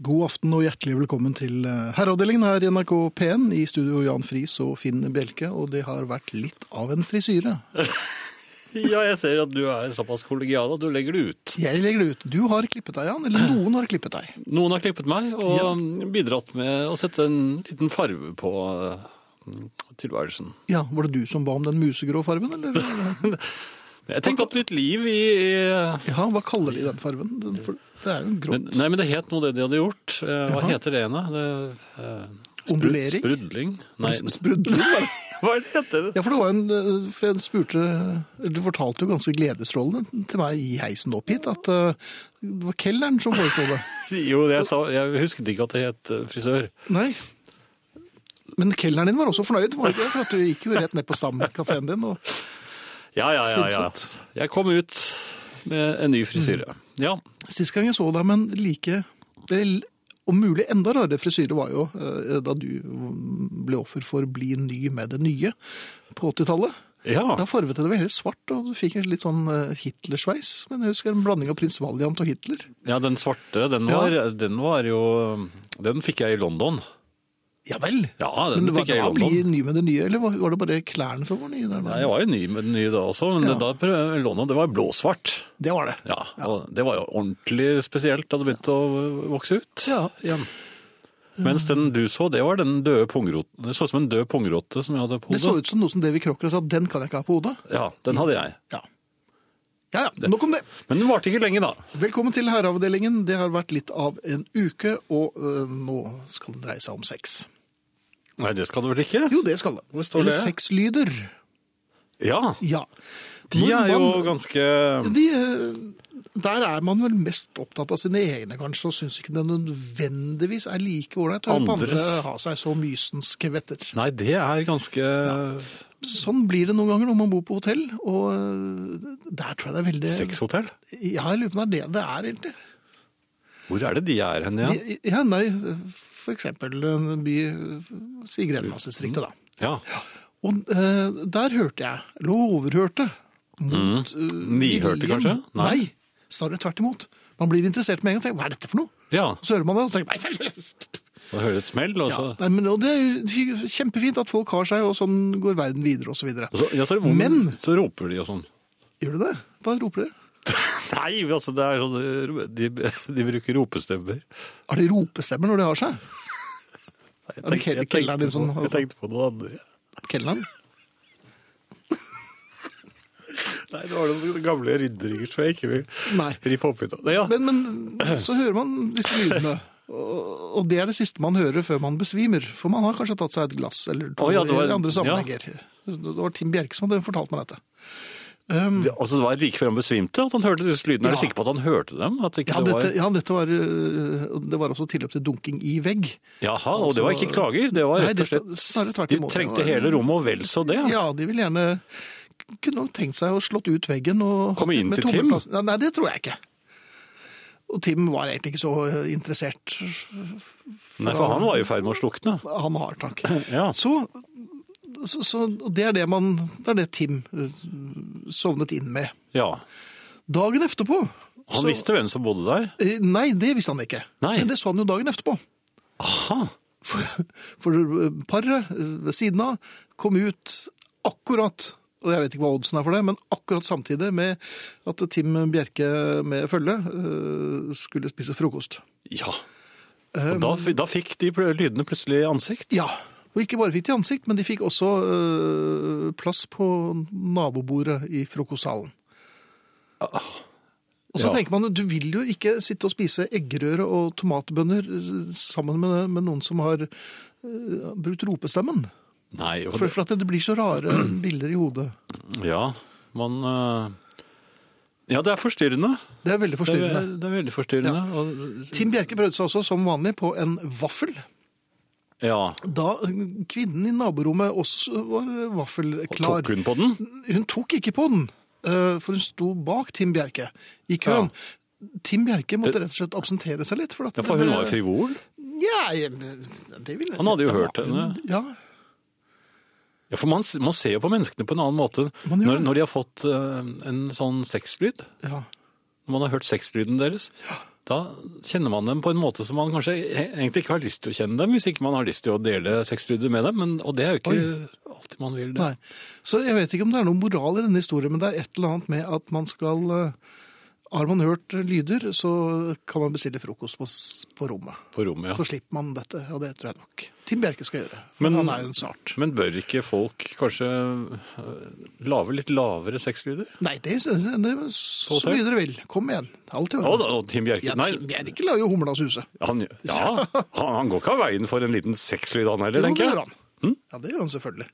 God aften og hjertelig velkommen til eh, herreavdelingen her i NRK P1. I studio Jan Friis og Finn Bjelke, og det har vært litt av en frisyre. Ja, jeg ser at du er såpass kollegial at du legger det ut. Jeg legger det ut. Du har klippet deg, Jan. Eller noen har klippet deg. Noen har klippet meg og bidratt med å sette en liten farve på eh, tilværelsen. Ja, Var det du som ba om den musegrå fargen, eller? Jeg tenkte at nytt liv i, i Ja, hva kaller de den fargen? Den, for det er jo men, grått. Nei, men det het noe det de hadde gjort. Eh, Hva Jaha. heter det ene? Det, eh, sprud- Ondulering? Sprudling? Nei, Sprudler, var det? hva er det heter det? Ja, for det var jo en for Jeg spurte eller Du fortalte jo ganske gledesstrålende til meg i heisen opp hit at eh, det var kelneren som foreslo det. Jo, det jeg sa, jeg husket ikke at det het eh, frisør. Nei. Men kelneren din var også fornøyd, var det ikke? For at du gikk jo rett ned på stamkafeen din. Og... Ja, ja, ja, ja. Jeg kom ut med en ny frisyre. Mm. Ja. Sist gang jeg så deg med en like eller om mulig enda rarere frisyre, var jo eh, da du ble offer for Bli ny med det nye på 80-tallet. ja. Da farvet jeg det veldig svart, og du fikk en litt sånn eh, Hitler-sveis. Men jeg husker en blanding av prins Valiant og Hitler. Ja, den svarte, den Ja. var, den var jo Den fikk jeg i London. Ja vel? Ja, Men den det var, fikk jeg i da London. blir ny med det nye, eller var- var det bare klærne som var nye? Der, Nei, jeg var jo ny med den nye da også, men Ja. da prøv- London det var blåsvart. Det var det. Ja, og Det var jo ordentlig spesielt da det begynte å vokse ut. Ja. igjen. Mens den du så, det var den døde pungroten. Det så ut som en død pungrotte som jeg hadde på Det så hodet. ut som noe som Davy Crocker sa, den kan jeg ikke ha på hodet. Ja, den hadde jeg. Ja. Ja, ja, nok om det. Men den varte ikke lenge, da. Velkommen til herreavdelingen. Det har vært litt av en uke, og øh, nå skal det dreie seg om sex. Nei, det skal det vel ikke? Jo, det skal det. Hvor står Eller det? sexlyder. Ja. Ja. De Når er jo man- ganske de, øh, der er man vel mest opptatt av sine egne, kanskje, og syns ikke det nødvendigvis er like ålreit å høre på andre Andres. ha seg så mysens skvetter. Nei, det er ganske Sånn blir det noen ganger når man bor på hotell, og øh, der tror jeg det er veldig sexhotell. Ja, jeg lurer på om det er det det er, egentlig. Hvor er det de er hen Ja, igjen? ja nei, for eksempel en by i Grenlandsdistriktet, da. Ja. Og øh, der hørte jeg, eller overhørte mot øh, Mm. Nihørte, viljen. kanskje? Nei. Nei. snarere tvert imot. Man blir interessert med en gang og tenker 'hva er dette for noe?' ja. Og så hører man det, og så tenker man nei, Da hører det et smell, og så, ja. nei, men, og Det er jo hy- kjempefint at folk har seg, og sånn går verden videre, og så videre. og så, Altså, ja, så, er det vondt, Men- så roper de og sånn. Gjør du det? Hva roper dere? Nei, men altså, det er sånn De, de bruker ropestemmer. Har de ropestemmer når de har seg? Jeg Ja, men tenkte- jeg kelneren din tenkte som- på- jeg tenkte på noen andre. Kelneren? Nei, det var noen gamle ridderinger som jeg ikke vil Nei. rippe opp i. nå. Nei, ja. Men, men så hører man disse lydene. Og og det er det siste man hører før man besvimer. For man har kanskje tatt seg et glass eller to Å ja, det var- i andre sammenhenger. Det var Tim Bjerke som hadde fortalt meg dette. Um, Det- altså, det var like før han besvimte at han hørte disse lydene. Er du Ja. sikker på at han hørte dem? At ikke Ja, det var... dette, ja, dette var, øh, det var også tilløp til dunking i vegg. Jaha, og det var ikke Altså- klager. Det var Nei, rett det- og slett snarere tvert De imot. trengte Det var- hele rommet og vel så det. Ja, de ville gjerne kunne nok tenkt seg å slått ut veggen og Komme inn med til Tim? tommelplassen. Nei, nei, det tror jeg ikke. Og Tim var egentlig ikke så øh, interessert. Nei, for han var jo i ferd med å slukne. Han har takk. Ja. Så, så, så det er det man Det er det Tim eh, sovnet inn med. ja. Dagen etterpå Han så- visste hvem som bodde der. Eh, Nei, det visste han ikke. Nei. Men det så han jo dagen etterpå. Aha. For, for paret eh, ved siden av kom ut akkurat og jeg vet ikke hva oddsen er for det, men akkurat samtidig med at Tim Bjerke med følge eh, skulle spise frokost. Ja. Og Ehm. da, fi- da fikk de pl- lydene plutselig ansikt. Ja. Og ikke bare fikk de ansikt, men de fikk også øh, plass på nabobordet i frokostsalen. Og så Ah, Ja. tenker man, du vil jo ikke sitte og spise eggerøre og tomatbønner øh, sammen med, med noen som har øh, brukt ropestemmen. Nei, og For, for at det blir så rare bilder i hodet. det- ja, man eh, Ja, det er forstyrrende. Det er veldig Det er, forstyrrende. det er veldig forstyrrende. Og, Tim Bjerke prøvde seg også som vanlig på en vaffel. ja. Da øh, kvinnen i naborommet også var vaffelklar. Tok hun på den? Hun tok ikke på den, eh, for hun sto bak Tim Bjerke i køen. Tim Bjerke måtte rett og slett absentere seg litt. For, at Ja, for hun var jo eh, frivol. Ja, jeg- det ville Han hadde jo Ja, hørt henne. Ja, Ja, for man, s- man ser jo på menneskene på en annen måte Man gjør når, det. når de har fått eh, en sånn sexlyd. ja. Når man har hørt sexlyden deres. da kjenner man dem på en måte som man kanskje e- egentlig ikke har lyst til å kjenne dem, hvis ikke man har lyst til å dele sexlyder med dem. Men, og det er jo ikke alltid man vil det. Nei. Så jeg vet ikke om det er noen moral i denne historien, men det er et eller annet med at man skal eh, Har man hørt lyder, så kan man bestille frokost på, s- på rommet. På rommet, Så ja. slipper man dette, og det tror jeg nok Tim Bjerke skal gjøre. For Men- han er jo en sart. Men bør ikke folk kanskje øh, lage litt lavere sexlyder? Nei, det, det, det så Hotell? mye dere vil. Kom igjen. Alt i Å, orden. da, og Tim Bjerke. Ja, Nei, Tim Bjerke lar jo humla suse. han, ja, han, han går ikke av veien for en liten sexlyd, han Jo, heller, det tenker gjør jeg. han. Ja, det gjør han selvfølgelig.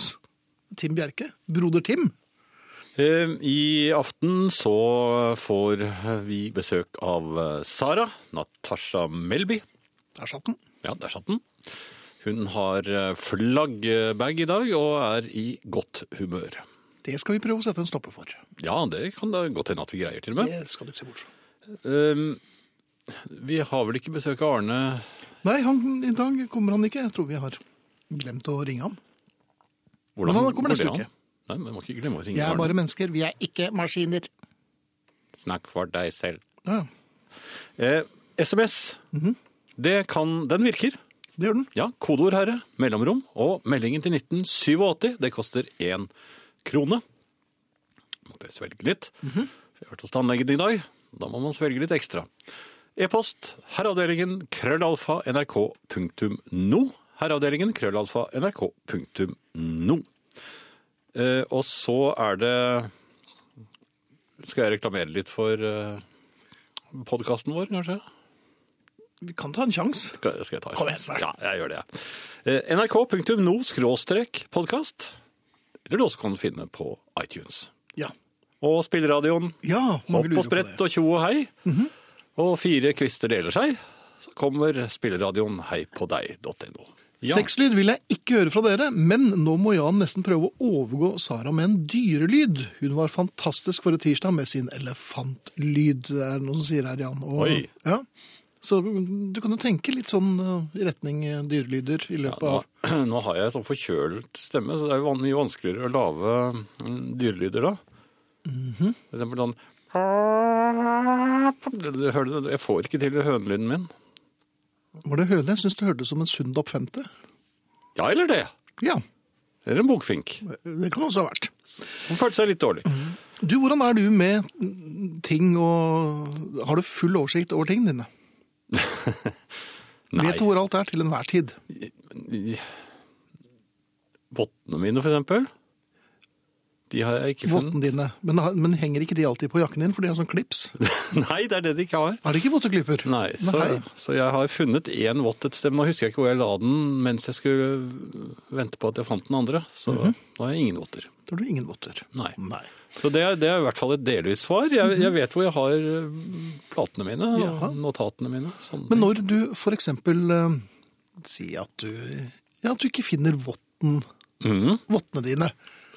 S- Tim Bjerke. Broder Tim. Eh, I aften så får vi besøk av eh, Sara Natasha Melby. Der satt den. Ja, der satt den. Hun har eh, flaggbag i dag og er i godt humør. Det skal vi prøve å sette en stopper for. Ja, det kan da godt hende at vi greier til og med. Det skal du ikke se bort fra. Ehm, vi har vel ikke besøk av Arne Nei, han, i dag kommer han ikke. Jeg tror vi har glemt å ringe ham. Hvordan Men han kommer går neste det an? uke. Nei, men må ikke glemme å Vi ringe er Arne. bare mennesker, vi er ikke maskiner. Snakk for deg selv. Ja, Eh, SMS, Mhm. det kan, den virker. det gjør den. Ja, kodeord herre, mellomrom og meldingen til 1987. Det koster én krone. Måtte jeg svelge litt. Jeg har vært hos tannlegen i dag. Da må man svelge litt ekstra. E-post herreavdelingen krøllalfa nrk.no. Herreavdelingen krøllalfa nrk.no. Eh, og så er det Skal jeg reklamere litt for eh, podkasten vår, kanskje? Vi kan ta en sjanse. Skal, skal jeg ta en Kom igjen, sjanse? vær så Ja, jeg gjør det. jeg. Eh, NRK.no skråstrek podkast. Eller du også kan finne på iTunes. Ja. Og spilleradioen. ja mange Hopp og lurer på sprett det. Mhm. og tjo og hei. Og fire kvister deler seg. Så kommer spilleradioen heipådeg.no. Ja. Sexlyd vil jeg ikke høre fra dere, men nå må Jan nesten prøve å overgå Sara med en dyrelyd. Hun var fantastisk forrige tirsdag med sin elefantlyd. Det er noe som sier her, Jan. Og, Oi. Ja. Så du kan jo tenke litt sånn eh, i retning eh, dyrelyder i Ja, løpet nå, av nå har jeg sånn forkjølt stemme, så det er jo van- mye vanskeligere å lage mm, dyrelyder da. Mhm. For eksempel sånn Hører du det? Jeg får ikke til hønelyden min. Var det høne? Jeg syns det hørtes ut som en Sundap 50. Ja, eller det. Ja, Eller en bokfink. det kan det også ha vært. Hun følte seg litt dårlig. Mhm. Du, hvordan er du med ting og Har du full oversikt over tingene dine? Nei. Vet du hvor alt er til enhver tid? Vottene mine, for eksempel. De har jeg ikke funnet. Vottene dine. Men, har- men henger ikke de alltid på jakken din, for de har sånn klips? Nei, det er det de ikke har. Er det ikke votteklyper? Nei, så, Nei. så jeg har funnet én vått et sted, men nå husker jeg ikke hvor jeg la den mens jeg skulle vente på at jeg fant den andre. Så Mhm. nå har jeg ingen votter. Da har du ingen votter. Nei. Nei. Så det er, det er i hvert fall et delvis svar. Jeg, jeg vet hvor jeg har eh, platene mine og Mhm. Jaha. notatene mine. Sånn. Sånne Men ting. når du for eksempel eh, sier at du, ja, at du ikke finner votten, Mhm, vottene dine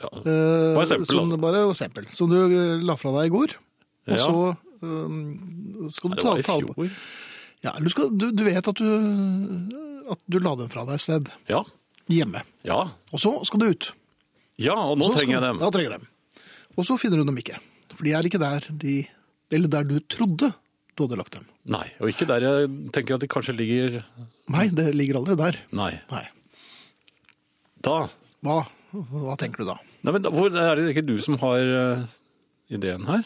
ja. eh, Bare eksempel, som, altså. Bare eksempel. Som du eh, la fra deg i går. Og Ja. så eh, skal Nei, du Det ta, var i ta på fjor. Ja, du, skal, du, du vet at du, at du la dem fra deg et sted Ja. hjemme. Ja. Og så skal du ut. ja, og Og nå så skal trenger jeg du- dem. Ja, trenger dem. Og så finner du dem ikke. For de er ikke der, de, eller der du trodde du hadde lagt dem. Nei, og ikke der jeg tenker at de kanskje ligger Nei, det ligger aldri der. Nei. Nei. Da Hva, hva tenker du da? Nei, men da- hvor, Er det ikke du som har eh, ideen her?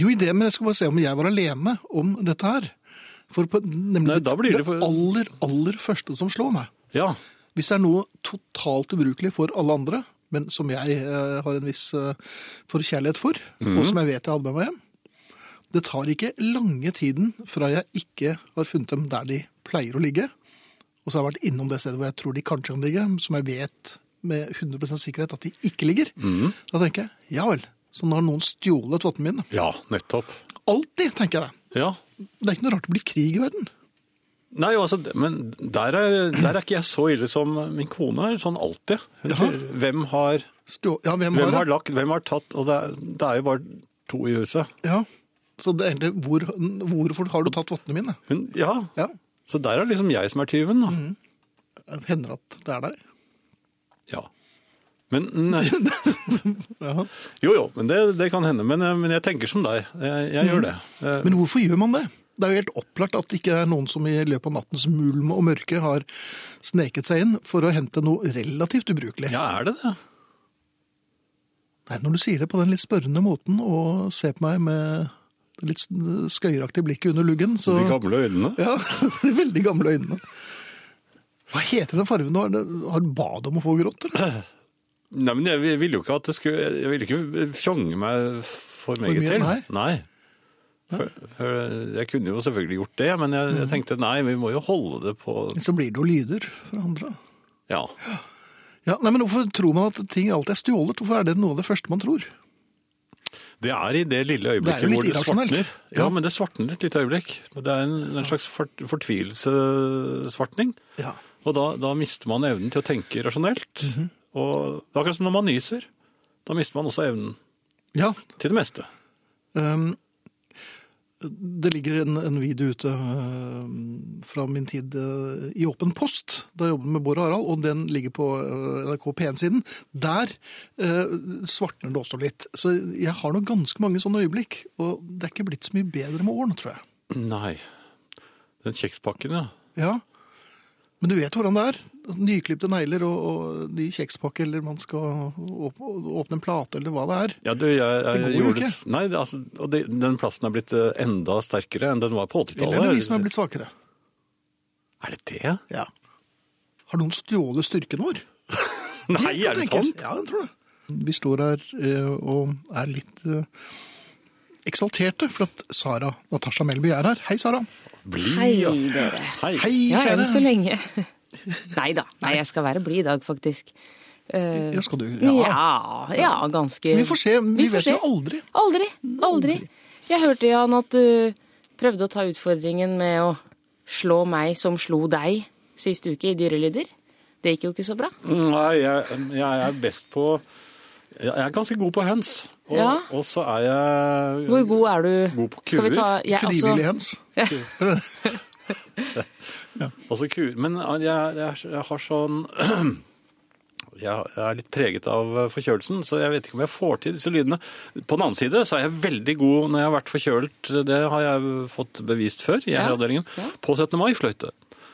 Jo, i det, men jeg skal bare se om jeg var alene om dette her. For på, nemlig Nei, det, da blir det det for- aller, aller første som slår meg. Ja. Hvis det er noe totalt ubrukelig for alle andre, men som jeg eh, har en viss eh, forkjærlighet for, og som jeg vet jeg hadde med meg hjem Det tar ikke lange tiden fra jeg ikke har funnet dem der de pleier å ligge, og så har jeg vært innom det stedet hvor jeg tror de kanskje kan ligge, som jeg vet med 100 sikkerhet at de ikke ligger. Da tenker jeg ja vel, så nå har noen stjålet vottene mine. Ja, nettopp. Alltid, tenker jeg det. Ja. Det er ikke noe rart det blir krig i verden. Nei, altså, men der er, der er ikke jeg så ille som min kone er, sånn alltid. Hun Jaha. sier hvem har, Stjå... Ja, hvem, hvem har har det? lagt, hvem har tatt Og det er, det er jo bare to i huset. Ja. Så det er egentlig hvor, hvorfor har du tatt vottene mine? Hun, ja. Ja. Så der er Mhm. liksom jeg som er tyven, da. Hender at det er der? Ja. Men, nei, Ja. jo, jo, men det, det kan hende. Men, eh, men jeg tenker som deg. Jeg, jeg gjør det. Eh, Men hvorfor gjør man det? Det er jo helt opplagt at det ikke er noen som i løpet av nattens mulm og mørke har sneket seg inn for å hente noe relativt ubrukelig. Ja, er det det? Nei, når du sier det på den litt spørrende måten og ser på meg med det litt skøyeraktige blikket under luggen, så De gamle øynene? Ja, de veldig gamle øynene. Hva heter den fargen? Har den- Har den bad om å få grått, eller? Nei, men jeg ville jo ikke at det skulle Jeg ville ikke fjonge meg for meget mye, til. nei? For, for jeg kunne jo selvfølgelig gjort det, men jeg, Mm. jeg tenkte nei, vi må jo holde det på Så blir det jo lyder fra andre. Ja. Ja, nei, men Hvorfor tror man at ting alltid er stjålet? Hvorfor er det noe av det første man tror? Det er i det lille Det er øyeblikket jo litt hvor det irrasjonelt. svartner. Ja, Ja. men det svartner et lite øyeblikk. Men Det er en, en slags fort, fortvilelsesvartning. Ja. Og da, da mister man evnen til å tenke rasjonelt. Mhm. Og det er akkurat som når man nyser. Da mister man også evnen ja til det meste. Um, det ligger en, en video ute um, fra min tid uh, i Åpen post, da jeg jobbet med Bård Harald, og den ligger på uh, NRK P1-siden. Der uh, svartner det også litt. Så jeg har nå ganske mange sånne øyeblikk, og det er ikke blitt så mye bedre med årene, tror jeg. Nei. Den kjekspakken, ja. Ja. Men du vet hvordan det er. Altså, Nyklipte negler og, og ny kjekspakke, eller man skal åp åpne en plate, eller hva det er. Ja, du, jeg, jeg Det går jo gjorde ikke. s- Nei, det- altså, og det, den plassen er blitt eh, enda sterkere enn den var på 80-tallet. Eller er det vi som er blitt svakere. Er det det? Ja. Har noen stjålet styrken vår? Nei, er det tenkes. sant? Ja, jeg tror det. Vi står her eh, og er litt eh, eksalterte for at Sara Natasha Melby er her. Hei, Sara. Bli, Hei, ja. dere. Hei. Hei, Ja, enn så kjære. lenge. Nei da. Nei, jeg skal være blid i dag, faktisk. Eh, Ja, skal du? ja. Ja. ja, ganske Vi får se. Vi, Vi får vet se. jo aldri. Aldri. Aldri. Jeg hørte, Jan, at du prøvde å ta utfordringen med å slå meg som slo deg sist uke i Dyrelyder. Det gikk jo ikke så bra. Nei, jeg, jeg er best på Jeg er ganske god på høns. Og, Ja. og så er jeg Hvor god er du? God på Skal vi kuer. ta jeg, altså- Frivillig hens. altså ku- Men jeg, jeg, er så- jeg har sånn jeg, jeg er litt preget av eh, forkjølelsen, så jeg vet ikke om jeg får til disse lydene. På den annen side så er jeg veldig god når jeg har vært forkjølt, det har jeg fått bevist før i Ja. herreavdelingen, Ja. på 17. mai-fløyte.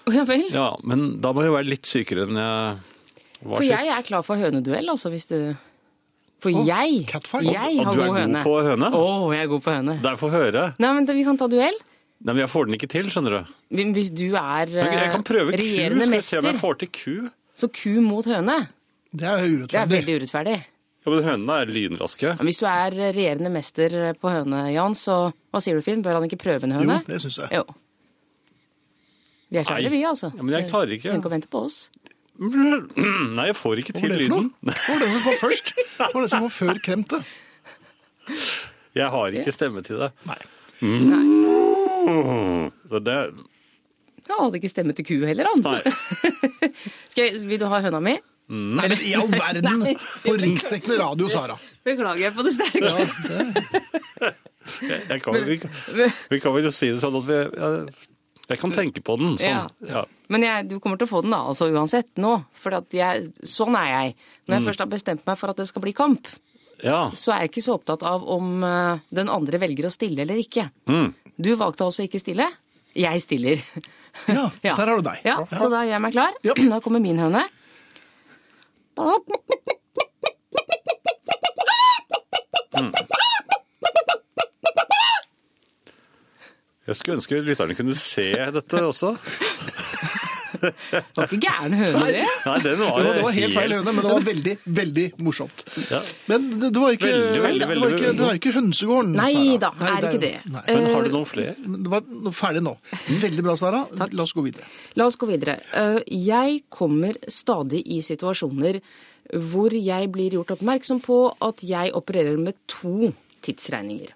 Å, ja vel. Ja, men da må jeg være litt sykere enn jeg var For jeg sist. er klar for høneduell, altså, hvis du For Å, jeg, catfight. jeg Og har du er god god høne. på høne? Å, jeg er god på høne. Derfor høre. Nei, men vi kan ta duell. Nei, men jeg får den ikke til, skjønner du. Hvis du er Jeg, jeg kan prøve eh, ku, skal vi se regjerende om mester, jeg får til ku. så ku mot høne, Det er det er urettferdig. veldig urettferdig. Ja, men hønene er lynraske. Men hvis du er regjerende mester på høne, Jan, så hva sier du, Finn? Bør han ikke prøve en jo, høne? det syns jeg. Jo. Vi er klare, Nei. vi, altså. Ja, men jeg klarer ikke. Trenger ikke å vente på oss. Nei, jeg får ikke Hva til var det for lyden. noe? Hva var det som kom først? Hva var det som kom før kremte? Jeg har ikke stemme til det. Nei. Så det Han hadde ikke stemme til ku heller, han. Nei. Skal jeg, vil du ha høna mi? Nei, men i all verden! Nei. På riksdekkende radio, Sara. Beklager jeg på det Ja, sterkeste. det, Jeg kan, vi, kan- vi kan vel jo si det sånn at vi Jeg, jeg kan tenke på den sånn. Ja. Men jeg, du kommer til å få den da, altså uansett nå. For at jeg, sånn er jeg. Mm. Når jeg først har bestemt meg for at det skal bli kamp, ja. så er jeg ikke så opptatt av om eh, den andre velger å stille eller ikke. Mm. Du valgte altså ikke stille. Jeg stiller. ja, Ja. der har du deg. Ja, Så da gjør jeg meg klar. Ja. Da kommer min høne. Jeg skulle ønske lytterne kunne se dette også. Det var ikke gæren høne, det. Nei, den Det var, var, det var helt feil høne, men det var veldig, veldig morsomt. Ja. Men det, det var ikke, Veldig, veldig, det var ikke, veldig. det var ikke hønsegården, Nei Sara. da, er ikke det. Mhm. Nei. Men har du noen flere? Men Det var nå- ferdig nå. Veldig bra, Sara. La oss gå videre. La oss gå videre. Eh, Jeg kommer stadig i situasjoner hvor jeg blir gjort oppmerksom på at jeg opererer med to tidsregninger.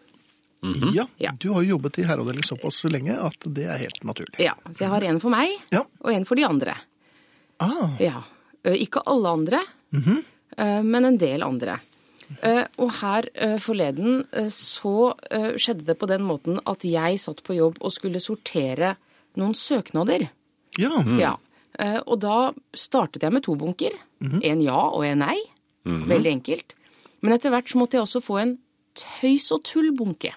ja, Mhm. Ja. du har jo jobbet i herreavdeling såpass lenge at det er helt naturlig. Ja, Så jeg har en for meg Ja. og en for de andre. Ah, Ja. Eh, Ikke alle andre, eh, men en del andre. Eh, Og her eh, forleden eh, så eh, skjedde det på den måten at jeg satt på jobb og skulle sortere noen søknader. ja. Mhm. Ja. Eh, Og da startet jeg med to bunker. En ja og en nei. Veldig enkelt. Men etter hvert så måtte jeg også få en tøys- og tullbunke.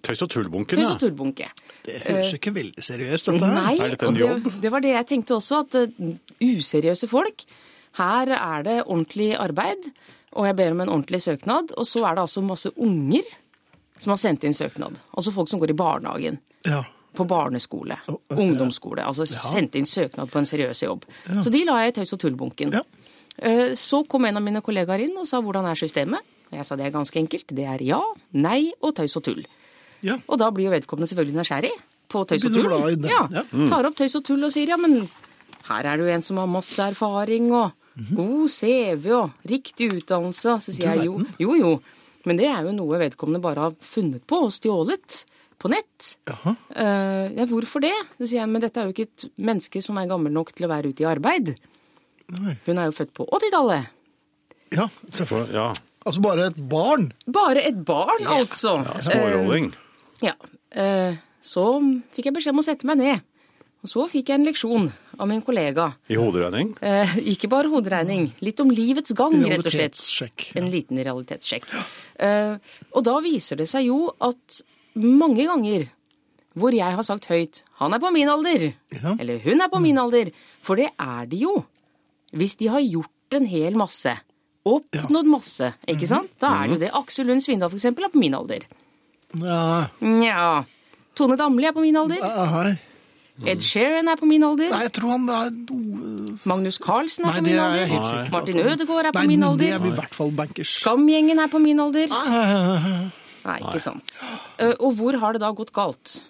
Tøys og tullbunken, Tøys og ja. tullbunke. Det høres jo ikke veldig seriøst, dette her. Nei, Er dette en og jobb? Det, det var det jeg tenkte også, at eh, useriøse folk, her er det ordentlig arbeid, og jeg ber om en ordentlig søknad, og så er det altså masse unger som har sendt inn søknad. Altså folk som går i barnehagen, Ja. på barneskole, ja. ungdomsskole, altså sendt inn søknad på en seriøs jobb. Så de la jeg i tøys- og tullbunken. Ja. Eh, Så kom en av mine kollegaer inn og sa hvordan er systemet? Jeg sa det er ganske enkelt, det er ja, nei og tøys og tull. ja. Og da blir jo vedkommende selvfølgelig nysgjerrig på tøys og Begynner tull. å bla i det. Ja, Ja. Tar opp tøys og tull og sier ja, men her er det jo en som har masse erfaring og Mhm. god CV og riktig utdannelse. Så sier jeg jo, jo, jo. Men det er jo noe vedkommende bare har funnet på og stjålet på nett. Jaha. Eh, ja, hvorfor det? Så sier jeg, men dette er jo ikke et menneske som er gammel nok til å være ute i arbeid. Nei. Hun er jo født på 80-tallet. Ja, selvfølgelig. For- ja. Altså bare et barn. Bare et barn, altså. ja Smårolling. Ja. eh, Så fikk jeg beskjed om å sette meg ned. Og så fikk jeg en leksjon av min kollega. I hoderegning. Eh, ikke bare hoderegning, litt om livets gang, rett og slett. Realitetssjekk, ja. En liten realitetssjekk. Eh, og da viser det seg jo at mange ganger hvor jeg har sagt høyt 'han er på min alder', Ja. eller 'hun er på min alder', for det er de jo. Hvis de har gjort en hel masse, oppnådd masse, ikke sant? Da er Mhm. det jo det. Aksel Lund Svindal, for eksempel, er på min alder. Ja. ah, Nja. Tone Damli er på min alder. Nei, Ed Sheeran er på min alder. Mm. Nei, jeg tror han er noe Magnus Carlsen er Nei, på det min er jeg alder. helt Nei. sikker på. at Martin han- Ødegaard er på Nei, men min Det alder. er vi i hvert fall bankers. Skamgjengen er på min alder. Ah, Nei, ikke sant. Eh, Og hvor har det da gått galt?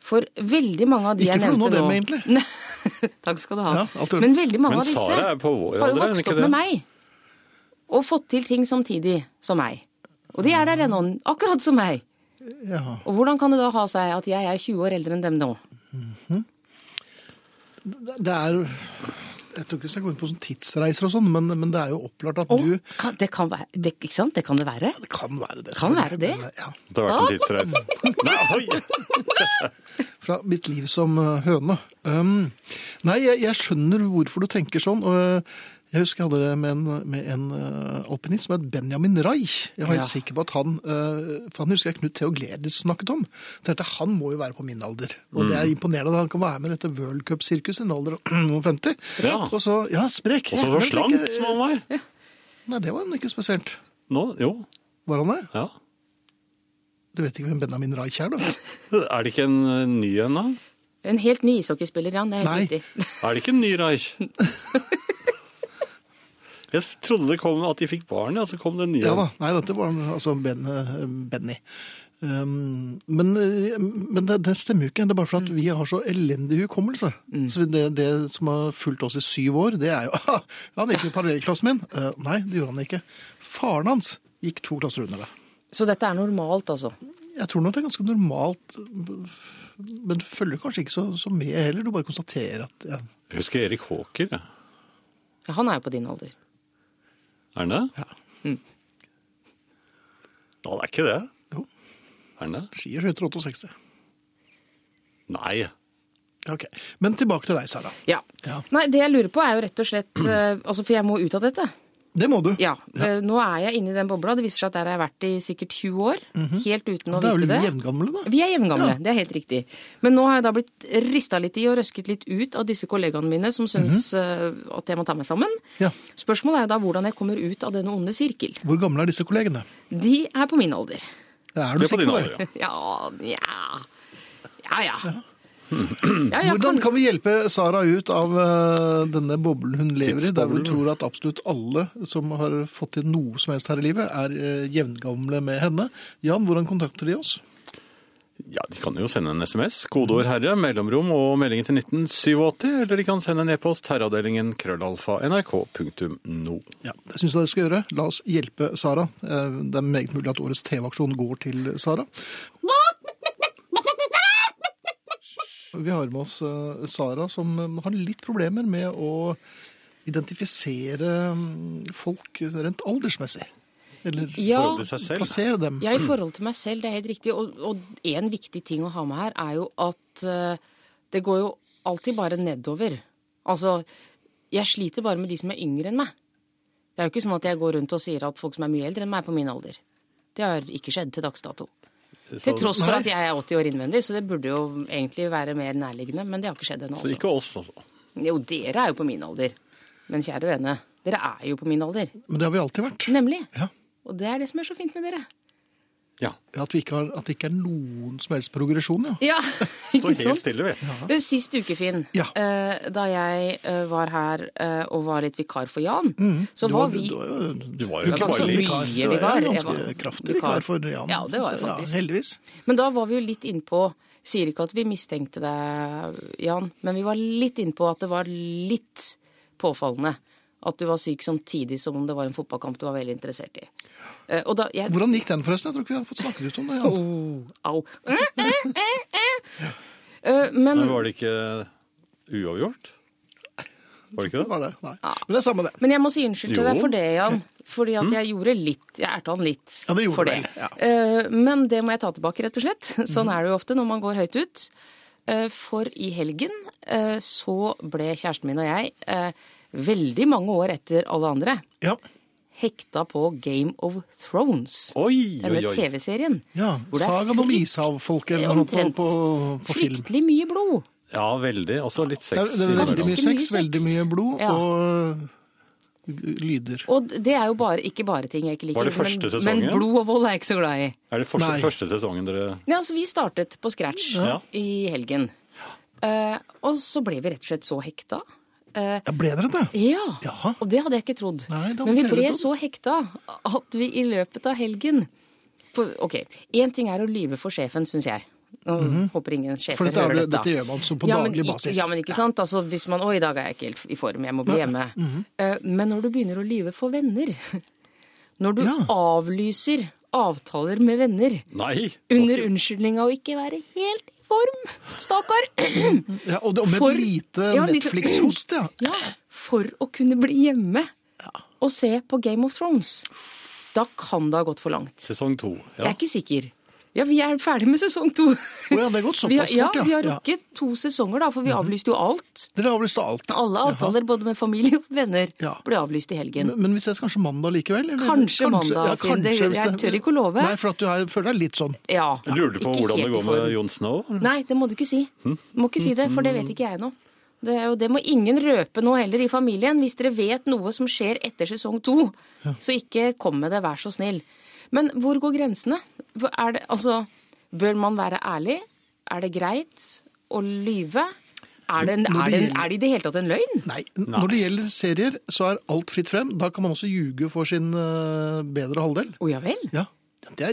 For veldig mange av de Ikke jeg for nevnte nå noen av dem, egentlig. Nei, Takk skal du ha. Ja, alt i orden. Men veldig mange Men av disse Sara er på vår har jo alder, er hun vokst ikke opp det? med meg. Og fått til ting samtidig som meg. Og de er der ennå, akkurat som meg. Ja. Og hvordan kan det da ha seg at jeg er 20 år eldre enn dem nå? Det er Jeg tror ikke vi skal gå inn på sånn tidsreiser og sånn, men, men det er jo opplagt at Å, du kan, det kan være, det, ikke sant? Det kan det være. Det kan være det. Kan selvfølgelig, være det. men, Ja. Det har vært en tidsreise. Nei, oi! Fra mitt liv som eh, høne. Um, nei, jeg, jeg skjønner hvorfor du tenker sånn. og eh, jeg husker jeg hadde det med en, med en eh, alpinist som het Benjamin Reich. Jeg var helt Ja. sikker på at han eh, For han husker jeg Knut Theo Glerdes snakket om. Jeg tenkte han må jo være på min alder. Og det Mm. er imponerende at han kan være med i dette World Cup-sirkuset i en alder av noen 50. Ja. Og så, ja, sprek. Og så Men var jeg slank tenker, eh, som han var. Nei, det var han ikke spesielt. Nå, jo, Var han det? ja. Du vet ikke hvem Benjamin Reich er, da? Er det ikke en eh, ny en, da? En helt ny ishockeyspiller, Jan. Det er helt Nei. riktig. Er det ikke en ny Reich? Jeg trodde det kom at de fikk barn, ja, så kom det en ny Ja en. da. Nei, dette var altså ben, Benny. Um, men eh, men det, det stemmer jo ikke. Det er bare for at vi har så elendig hukommelse. Så det, det som har fulgt oss i syv år, det er jo «Ah, Han gikk i parallellklassen min. Eh, nei, det gjorde han ikke. Faren hans gikk to klasser under det. Så dette er normalt, altså. Jeg tror nok det er ganske normalt, men du følger kanskje ikke så, så med heller. Du bare konstaterer at ja, Jeg husker Erik Håker, ja. Ja, Han er jo på din alder. Er han det? Ja. Nå, det er ikke det. Jo. Er han det? ski og skøyter 68. Nei. Ok. Men tilbake til deg, Sara. Ja. Ja. Nei, det jeg lurer på er jo rett og slett eh, Altså, for jeg må ut av dette. Det må du. Ja. eh, Nå er jeg inne i den bobla. Det viser seg at der har jeg vært i sikkert 20 år. Helt uten Mhm. å Da er vite vel det. vi jevngamle, da? Vi er jevngamle, det er helt riktig. Men nå har jeg da blitt rista litt i og røsket litt ut av disse kollegaene mine som syns eh, at jeg må ta meg sammen. Mhm. Ja. Spørsmålet er jo da hvordan jeg kommer ut av denne onde sirkel. Hvor gamle er disse kollegene? De er på min alder. Er Det du er på sikker din på alder, det? ja. Ja, ja. Ja, ja. ja, ja Hvordan kan vi hjelpe Sara ut av eh, denne boblen hun lever i, der hun Tidsboblen. tror at absolutt alle som har fått til noe som helst her i livet, er eh, jevngamle med henne? Jan, hvordan kontakter de oss? Ja, De kan jo sende en SMS, kodeord 'herre', mellomrom og meldingen til 1987. Eller de kan sende en e-post herreavdelingen krøllalfa nrk.no. Ja, Det syns jeg dere skal gjøre. La oss hjelpe Sara. Eh, Det er meget mulig at årets TV-aksjon går til Sara. Vi har med oss eh, Sara, som eh, har litt problemer med å identifisere mm, folk rent aldersmessig. Eller Ja, Forholde seg selv. plassere dem. ja, i forhold til meg selv, det er helt riktig. Og, og en viktig ting å ha med her er jo at eh, det går jo alltid bare nedover. Altså, jeg sliter bare med de som er yngre enn meg. Det er jo ikke sånn at jeg går rundt og sier at folk som er mye eldre enn meg, er på min alder. Det har ikke skjedd til dags dato. Til tross for Nei. at jeg er 80 år innvendig, så det burde jo egentlig være mer nærliggende. Men det har ikke skjedd ennå. Så altså. ikke oss, altså. Jo, dere er jo på min alder. Men kjære vene, dere er jo på min alder. Men det har vi alltid vært. Nemlig. Ja. Og det er det som er så fint med dere. Ja. At, vi ikke har, at det ikke er noen som helst progresjon, ja. Ja, Står helt stille, vi. Du, Sist uke, Finn, Ja. eh, da jeg eh, var her eh, og var litt vikar for Jan, så Mm. Du var var- vi du var jo- altså, Du var jo Det ikke var bare så lik. mye Du var vikar. Jeg Ganske var kraftig vikar. vikar for Jan. Ja, det var jeg Så, faktisk. Ja, heldigvis. Men da var vi jo litt innpå Sier ikke at vi mistenkte deg, Jan, men vi var litt innpå at det var litt påfallende at du var syk samtidig som om det var en fotballkamp du var veldig interessert i. Eh, Og da jeg Hvordan gikk den forresten? Jeg tror ikke vi har fått snakket ut om det. Jan. Au. eh, Eh, Men Men var det ikke uavgjort? Var det ikke det? Var det? Nei. Men det er samme det. Men jeg må si unnskyld til Jo. deg for det, Jan. Fordi at jeg gjorde litt Jeg ærte han litt Hm? Ja, det gjorde for du det. vel, ja. Hm. Eh, Men det må jeg ta tilbake, rett og slett. Sånn er det jo ofte når man går høyt ut. Eh, For i helgen eh, så ble kjæresten min og jeg, eh, veldig mange år etter alle andre, Ja. hekta på Game of Thrones. Oi, oi, Denne oi. TV-serien. ja. Hvor det er Sagaen om frykt- ishavfolket eller noe på, omtrent på, på film. Fryktelig mye blod. Ja, veldig. Også litt Det er, sex. det er veldig innimellom. mye Ganske mye sex, sex. veldig mye blod Ja. og øh, lyder. Og det er jo bare, ikke bare ting jeg ikke liker. Var det første men, sesongen? men blod og vold er jeg ikke så glad i. Er det fortsatt Nei. første sesongen dere Ja, altså Vi startet på scratch Ja. i helgen. Eh, og så ble vi rett og slett så hekta. Eh, Ja, ble dere det? ja, Jaha. Og det hadde jeg ikke trodd. Nei, det hadde Men vi ikke jeg ble trodd. så hekta at vi i løpet av helgen for, Ok, én ting er å lyve for sjefen, syns jeg. Nå håper ingen sjefer Mhm. For dette er hører det- dette. dette gjør man så på men daglig ikke- basis. Ja, men ikke sant? Altså, hvis man 'Å, i dag er jeg ikke helt i form, jeg må bli hjemme'. Mhm. Eh, men når du begynner å lyve for venner, når du Ja. avlyser avtaler med venner Nei! under unnskyldning av å ikke være helt i form. Stakkar! Ja, og, det, og med For- et lite Ja, liksom- lite- Netflix-host, ja. Ja, for å kunne bli hjemme og se på Game of Thrones. Da kan det ha gått for langt. Sesong to. Jeg Ja. er ikke sikker. Ja, vi er ferdig med sesong to. Å ja, det er gått såpass Vi har- fort, ja. ja. Vi har Ja. rukket to sesonger, da, for vi avlyste jo alt. Dere avlyste alt. Alle avtaler, både med familie og venner, Ja. ble avlyst i helgen. Men, men vi ses kanskje mandag likevel? eller? Kanskje mandag, Finn. Det- hvis jeg tør ikke å love. Nei, for at du er, føler deg litt sånn. Ja, Jeg lurer på ikke hvordan helt det i går form. med Jon Snow. Nei, det må du ikke si. Du må ikke si det, for det vet ikke jeg nå. Det, og det må ingen røpe nå heller i familien. Hvis dere vet noe som skjer etter sesong to, så ikke kom med det, vær så snill. Men hvor går grensene? Hvor Er det, altså, bør man være ærlig? Er det greit å lyve? Er det, Når det en, er, det, en- gjelder- er det i det hele tatt en løgn? Nei. n- Når det gjelder serier, så er alt fritt frem. Da kan man også ljuge for sin øh, bedre halvdel. Å ja vel. Ja. Det er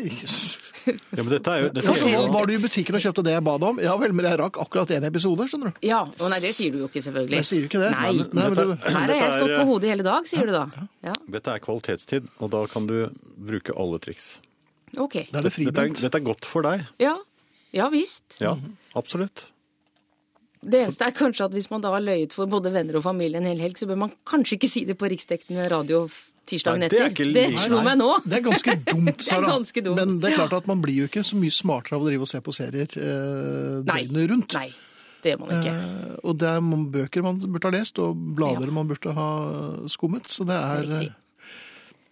Ja, men dette er jo dette Ja, er så jo- var, var du i butikken og kjøpte det jeg ba deg om? Ja vel, men jeg rakk akkurat én episode, skjønner du. Ja, og nei, det sier du jo ikke, selvfølgelig. Jeg sier jo ikke det. Nei. Nei, men- eh, nei, men du- Her har Dette jeg er- stått på hodet hele dag, sier du da. Ja, Dette er kvalitetstid, og da kan du bruke alle triks. ok. Da er det Dette er, fribrent. dette er godt for deg. Ja, ja visst. Ja, Mhm. absolutt. Det eneste er kanskje at hvis man da har løyet for både venner og familie en hel helg, så bør man kanskje ikke si det på riksdekkende radio f- tirsdagen Nei, det etter. er ikke det like- slo nei. meg nå. Det er ganske dumt, Sara. ganske dumt. Men det er klart at man blir jo ikke så mye smartere av å drive og se på serier eh, Nei. døgnet rundt. Nei, det gjør man ikke. Eh, og det er man- bøker man burde ha lest, og blader Ja. man burde ha skummet. Så det er eh, Riktig.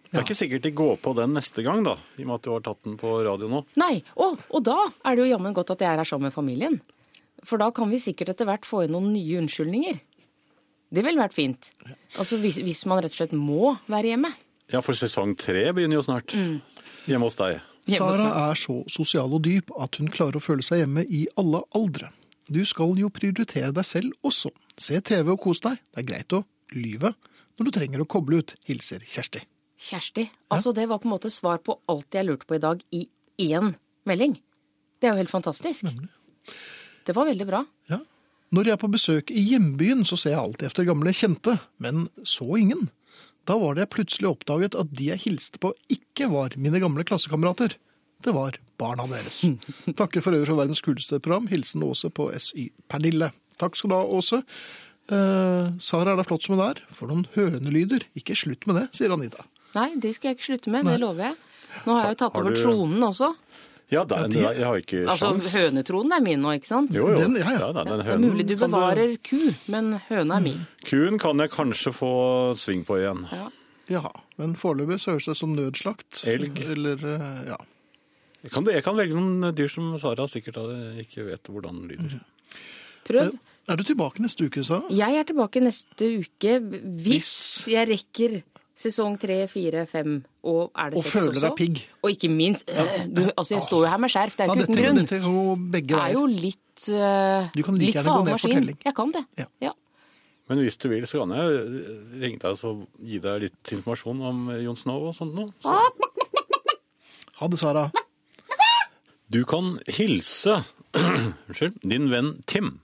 Det er ikke sikkert de går på den neste gang, da, i og med at du har tatt den på radio nå. Nei, og, og da er det jo jammen godt at jeg er her sammen med familien. For da kan vi sikkert etter hvert få inn noen nye unnskyldninger. Det ville vært fint. Altså hvis, hvis man rett og slett må være hjemme. Ja, for sesong tre begynner jo snart. Mm. Hjemme hos deg. eh, Hjemme hos Sara er så sosial og dyp at hun klarer å føle seg hjemme i alle aldre. Du skal jo prioritere deg selv også. Se TV og kos deg. Det er greit å lyve når du trenger å koble ut. Hilser Kjersti. Kjersti, altså det var på en måte svar på alt jeg lurte på i dag i én melding. Det er jo helt fantastisk. Det var veldig bra. Ja. Når jeg er på besøk i hjembyen, så ser jeg alltid efter gamle kjente, men så ingen. Da var det jeg plutselig oppdaget at de jeg hilste på ikke var mine gamle klassekamerater. Det var barna deres. Takker for øvrig for verdens kuleste program. Hilsen Åse på SY Pernille. Takk skal du ha, Åse. Eh, Sara er da flott som hun er. For noen hønelyder. Ikke slutt med det, sier Anita. Nei, det skal jeg ikke slutte med, det lover jeg. Nå har jeg jo tatt Har over du- tronen også. Ja, da, det- da, jeg har ikke Altså, sjans. hønetronen er min nå, ikke sant? Jo, jo. Den, ja, ja. da, den Det er mulig hønen du kan bevarer ku, men høna er min. Mm. Kuen kan jeg kanskje få sving på igjen. Ja. Jaha. Men foreløpig så høres det ut som nødslakt. Elg. Eller, eh, ja. Jeg kan, jeg kan velge noen eh, dyr som Sara sikkert hadde- ikke vet hvordan lyder. Prøv. Er du tilbake neste uke, Sara? Jeg er tilbake neste uke hvis jeg rekker sesong tre, fire, fem og er det Og seks også. føler deg pigg. Og ikke minst øh, du, Altså, jeg står jo her med skjerf, det er Ja, ikke dette, uten grunn. dette kan gå begge Jeg er jo veier. litt øh, Du kan like litt gjerne gå ned for maskin. telling. Jeg kan det. Ja. Ja. Men hvis du vil, så kan jeg ringe deg og gi deg litt informasjon om Jon Snow og sånt noe. Så Ha det, Sara. du kan hilse unnskyld, din venn Tim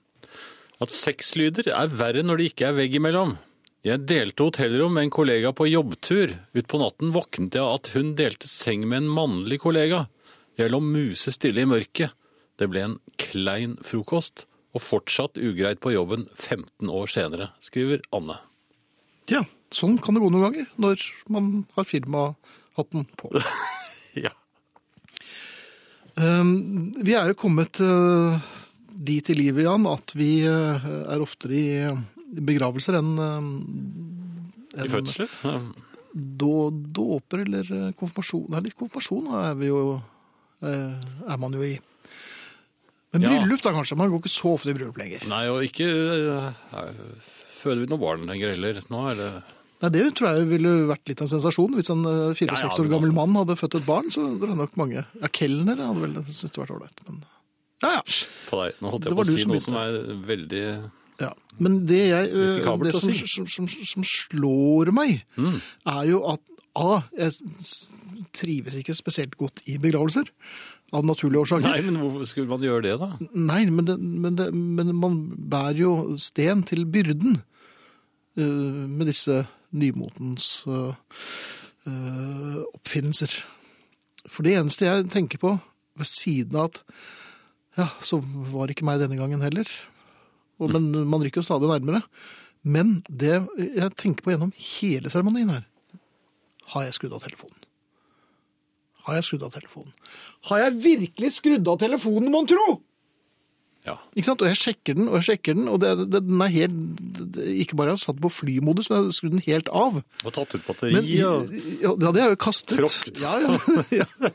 at sexlyder er verre når det ikke er vegg imellom. Jeg delte hotellrom med en kollega på jobbtur. Utpå natten våknet jeg av at hun delte seng med en mannlig kollega. Jeg lå musestille i mørket. Det ble en klein frokost, og fortsatt ugreit på jobben 15 år senere, skriver Anne. Ja, sånn kan det gå noen ganger når man har firmahatten på. Ja. Um, Vi er jo kommet uh, dit i livet, Jan, at vi uh, er oftere i uh, begravelser enn uh, I enn fødsler? Ja. Då, dåper eller eh, konfirmasjon. Nei, litt konfirmasjon er vi jo eh, er man jo i. Men Ja. bryllup, da kanskje. Man går ikke så ofte i bryllup lenger. Nei, og ikke eh, føder vi noen barn lenger heller. Nå er det Nei, Det tror jeg ville vært litt av en sensasjon. Hvis en eh, 64 Ja, ja, år men gammel altså- mann hadde født et barn, så tror jeg nok mange Ja, kelner hadde vel syntes det vært ålreit, men ja, ja. på deg. Nå holdt Det var jeg på å du som si noe begynte. som er veldig Ja, Men det, jeg, eh, Risikabelt det å som, si. Mm. som, som, som slår meg, er jo at A. Jeg s- trives ikke spesielt godt i begravelser, av naturlige årsaker. Nei, men hvorfor skulle man gjøre det, da? Nei, men, det, men, det, men man bærer jo sten til byrden eh, med disse nymotens eh, eh, oppfinnelser. For det eneste jeg tenker på ved siden av at ja, så var det ikke meg denne gangen heller. Og, men man rykker jo stadig nærmere. Men det jeg tenker på gjennom hele seremonien her, har jeg skrudd av telefonen? Har jeg skrudd av telefonen? Har jeg virkelig skrudd av telefonen, mon tro? Ja. Ikke sant? Og jeg sjekker den, og jeg sjekker den, og det, det, den er helt, det- det- ikke bare har jeg satt på flymodus, men jeg har skrudd den helt av. Og tatt ut Men, batteri ja, det hadde jeg jo kastet. Tråkket. Ja, ja. ja.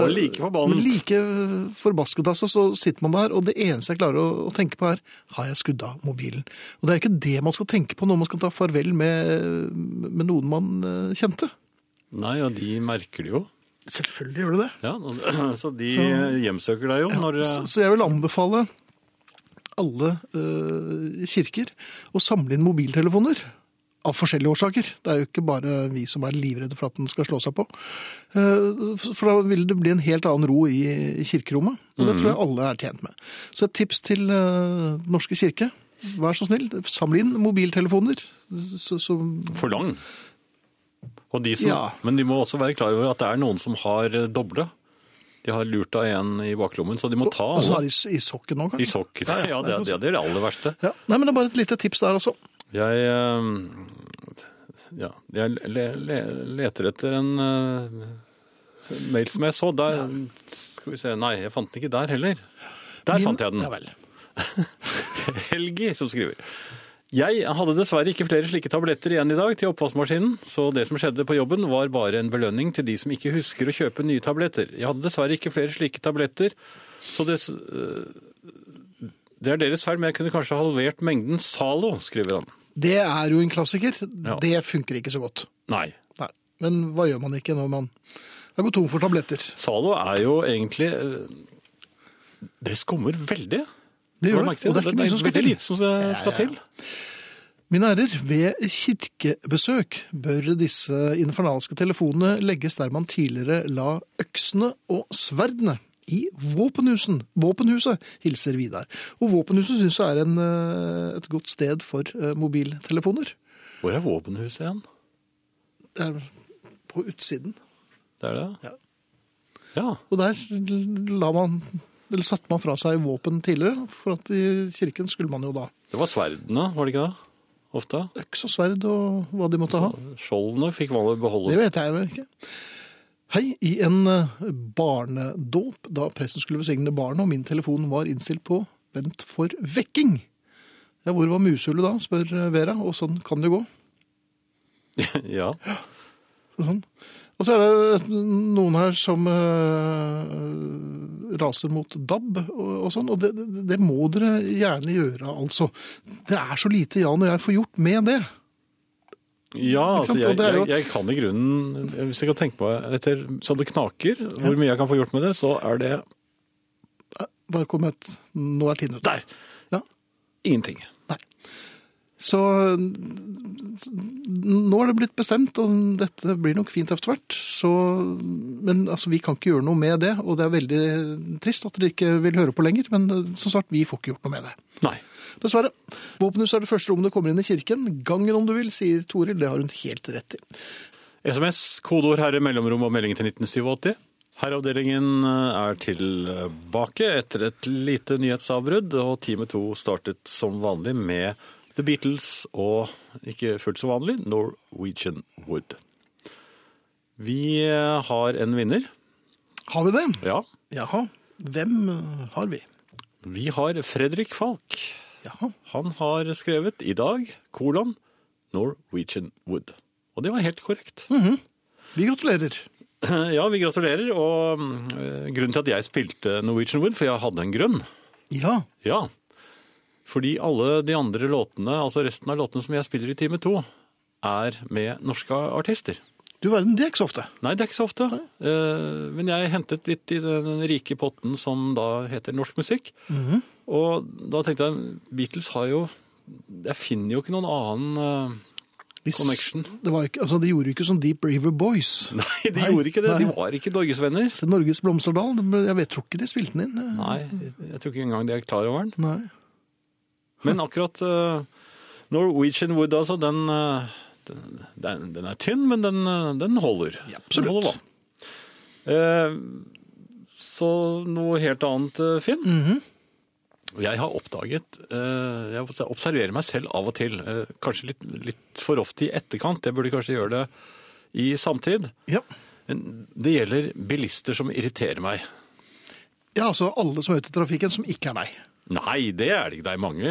og like Men like forbasket altså, så sitter man der, og det eneste jeg klarer å, å tenke på er, har jeg skudd av mobilen? Og det er jo ikke det man skal tenke på når man skal ta farvel med, med noen man eh, kjente. Nei, og de merker det jo. Selvfølgelig gjør du det. Ja, så de hjemsøker deg jo når eh, Så, så jeg vil anbefale alle eh, kirker å samle inn mobiltelefoner. Av forskjellige årsaker. Det er jo ikke bare vi som er livredde for at den skal slå seg på. Eh, For da vil det bli en helt annen ro i i kirkerommet. Og det Mhm. tror jeg alle er tjent med. Så et tips til eh, Den norske kirke. Vær så snill, samle inn mobiltelefoner. Så, så for lang. Og de som, Ja. Men de må også være klar over at det er noen som har eh, doble. De har lurt av en i baklommen, så de må ta og så har alle de i, i sokken nå, i kanskje. sokken. Ja, det, er- det er det aller verste. Ja. Nei, men det er bare et lite tips der også. Jeg, eh, ja, jeg le, le, leter etter en eh, mail som jeg så. Der, skal vi se. Nei, jeg fant den ikke der heller. Der Min- fant jeg den. Ja vel. Helgi som skriver. Jeg hadde dessverre ikke flere slike tabletter igjen i dag til oppvaskmaskinen, så det som skjedde på jobben var bare en belønning til de som ikke husker å kjøpe nye tabletter. Jeg hadde dessverre ikke flere slike tabletter, så det, øh, det er deres feil, men jeg kunne kanskje halvert mengden Zalo, skriver han. Det er jo en klassiker. Ja. Det funker ikke så godt. Nei. Nei. Men hva gjør man ikke når man er gått tom for tabletter? Zalo er jo egentlig øh, Det skummer veldig. Det gjør Har du det, merket og det er ikke mye som skal veldig til. lite som skal til. Mine ærer, ved kirkebesøk bør disse infernalske telefonene legges der man tidligere la øksene og sverdene. I våpenhusen. Våpenhuset hilser Vidar. Og våpenhuset syns jeg er en, eh, et godt sted for eh, mobiltelefoner. Hvor er våpenhuset igjen? Det er på utsiden. Det er det? ja. Og der la man, eller satte man fra seg våpen tidligere, for at i kirken skulle man jo da Det var sverdene, var det ikke det? Ofte. øks og sverd og hva de måtte ha. Skjoldene fikk man vel beholde. Det vet jeg jo ikke. Hei, i en eh, barnedåp, da presten skulle besigne barnet, og min telefon var innstilt på vent for eh, vekking. Ja, hvor var musehullet da, spør Vera, og sånn kan det jo gå. ja. Sånn. Og så er det eh, noen her som eh, raser mot DAB og, og sånn, og det, det, det må dere gjerne gjøre, altså. Det er så lite Jan og jeg får gjort med det. Ja, altså, sant, jeg, og det er jeg, jo- jeg kan i grunnen Hvis jeg kan tenke meg etter så det knaker, hvor mye jeg kan få gjort med det, så er det Eh, Bare kom med et Nå er tiden ute. der! Ja. Ingenting. Så eh, nå er det blitt bestemt, og dette blir nok fint etter hvert. Så, men altså, vi kan ikke gjøre noe med det, og det er veldig trist at dere ikke vil høre på lenger. Men eh, som sagt, vi får ikke gjort noe med det. Nei. Dessverre. Våpenhus er det første rommet du kommer inn i kirken. Gangen om du vil, sier Toril. Det har hun helt rett i. SMS, kodeord herre, mellomrom og melding til 1987. Herreavdelingen eh, er tilbake etter et lite nyhetsavbrudd, og Time 2 startet som vanlig med The Beatles og, ikke fullt så vanlig, Norwegian Wood. Vi eh, har en vinner. Har vi det? Ja. Jaha. Hvem eh, har vi? Vi har Fredrik Falk. Jaha. Han har skrevet i dag, kolon, Norwegian Wood. Og det var helt korrekt. Vi gratulerer. Ja, vi gratulerer. Og øh, grunnen til at jeg spilte Norwegian Wood, for jeg hadde en grunn. Ja. Ja. Fordi alle de andre låtene, altså resten av låtene som jeg spiller i time to, er med norske artister. Du verden, det er ikke så ofte. Nei, det er ikke så ofte. Eh, Men jeg hentet litt i den rike potten som da heter norsk musikk. Mhm. Og da tenkte jeg, Beatles har jo Jeg finner jo ikke noen annen eh, De, s- Connection. Det var ikke, altså, de gjorde jo ikke som Deep River Boys. Nei, de Nei, gjorde ikke det. De nei. var ikke norgesvenner. Se Norges Blomsterdal. det ble- Jeg vet, tror ikke de spilte den inn. eh. Nei, jeg tror ikke engang de er klar over den. Nei. Men akkurat eh, Norwegian Wood, altså, den, eh, den, den, den er tynn, men den, eh, den holder. Ja, absolutt. Den holder vann. Eh, så noe helt annet, eh, Finn. Mhm. Jeg har oppdaget eh, Jeg observerer meg selv av og til. eh, kanskje litt, litt for ofte i etterkant. Jeg burde kanskje gjøre det i samtid. Ja. Men Det gjelder bilister som irriterer meg. ja, altså alle som er ute i trafikken som ikke er deg. Nei, det er det ikke. Det er mange.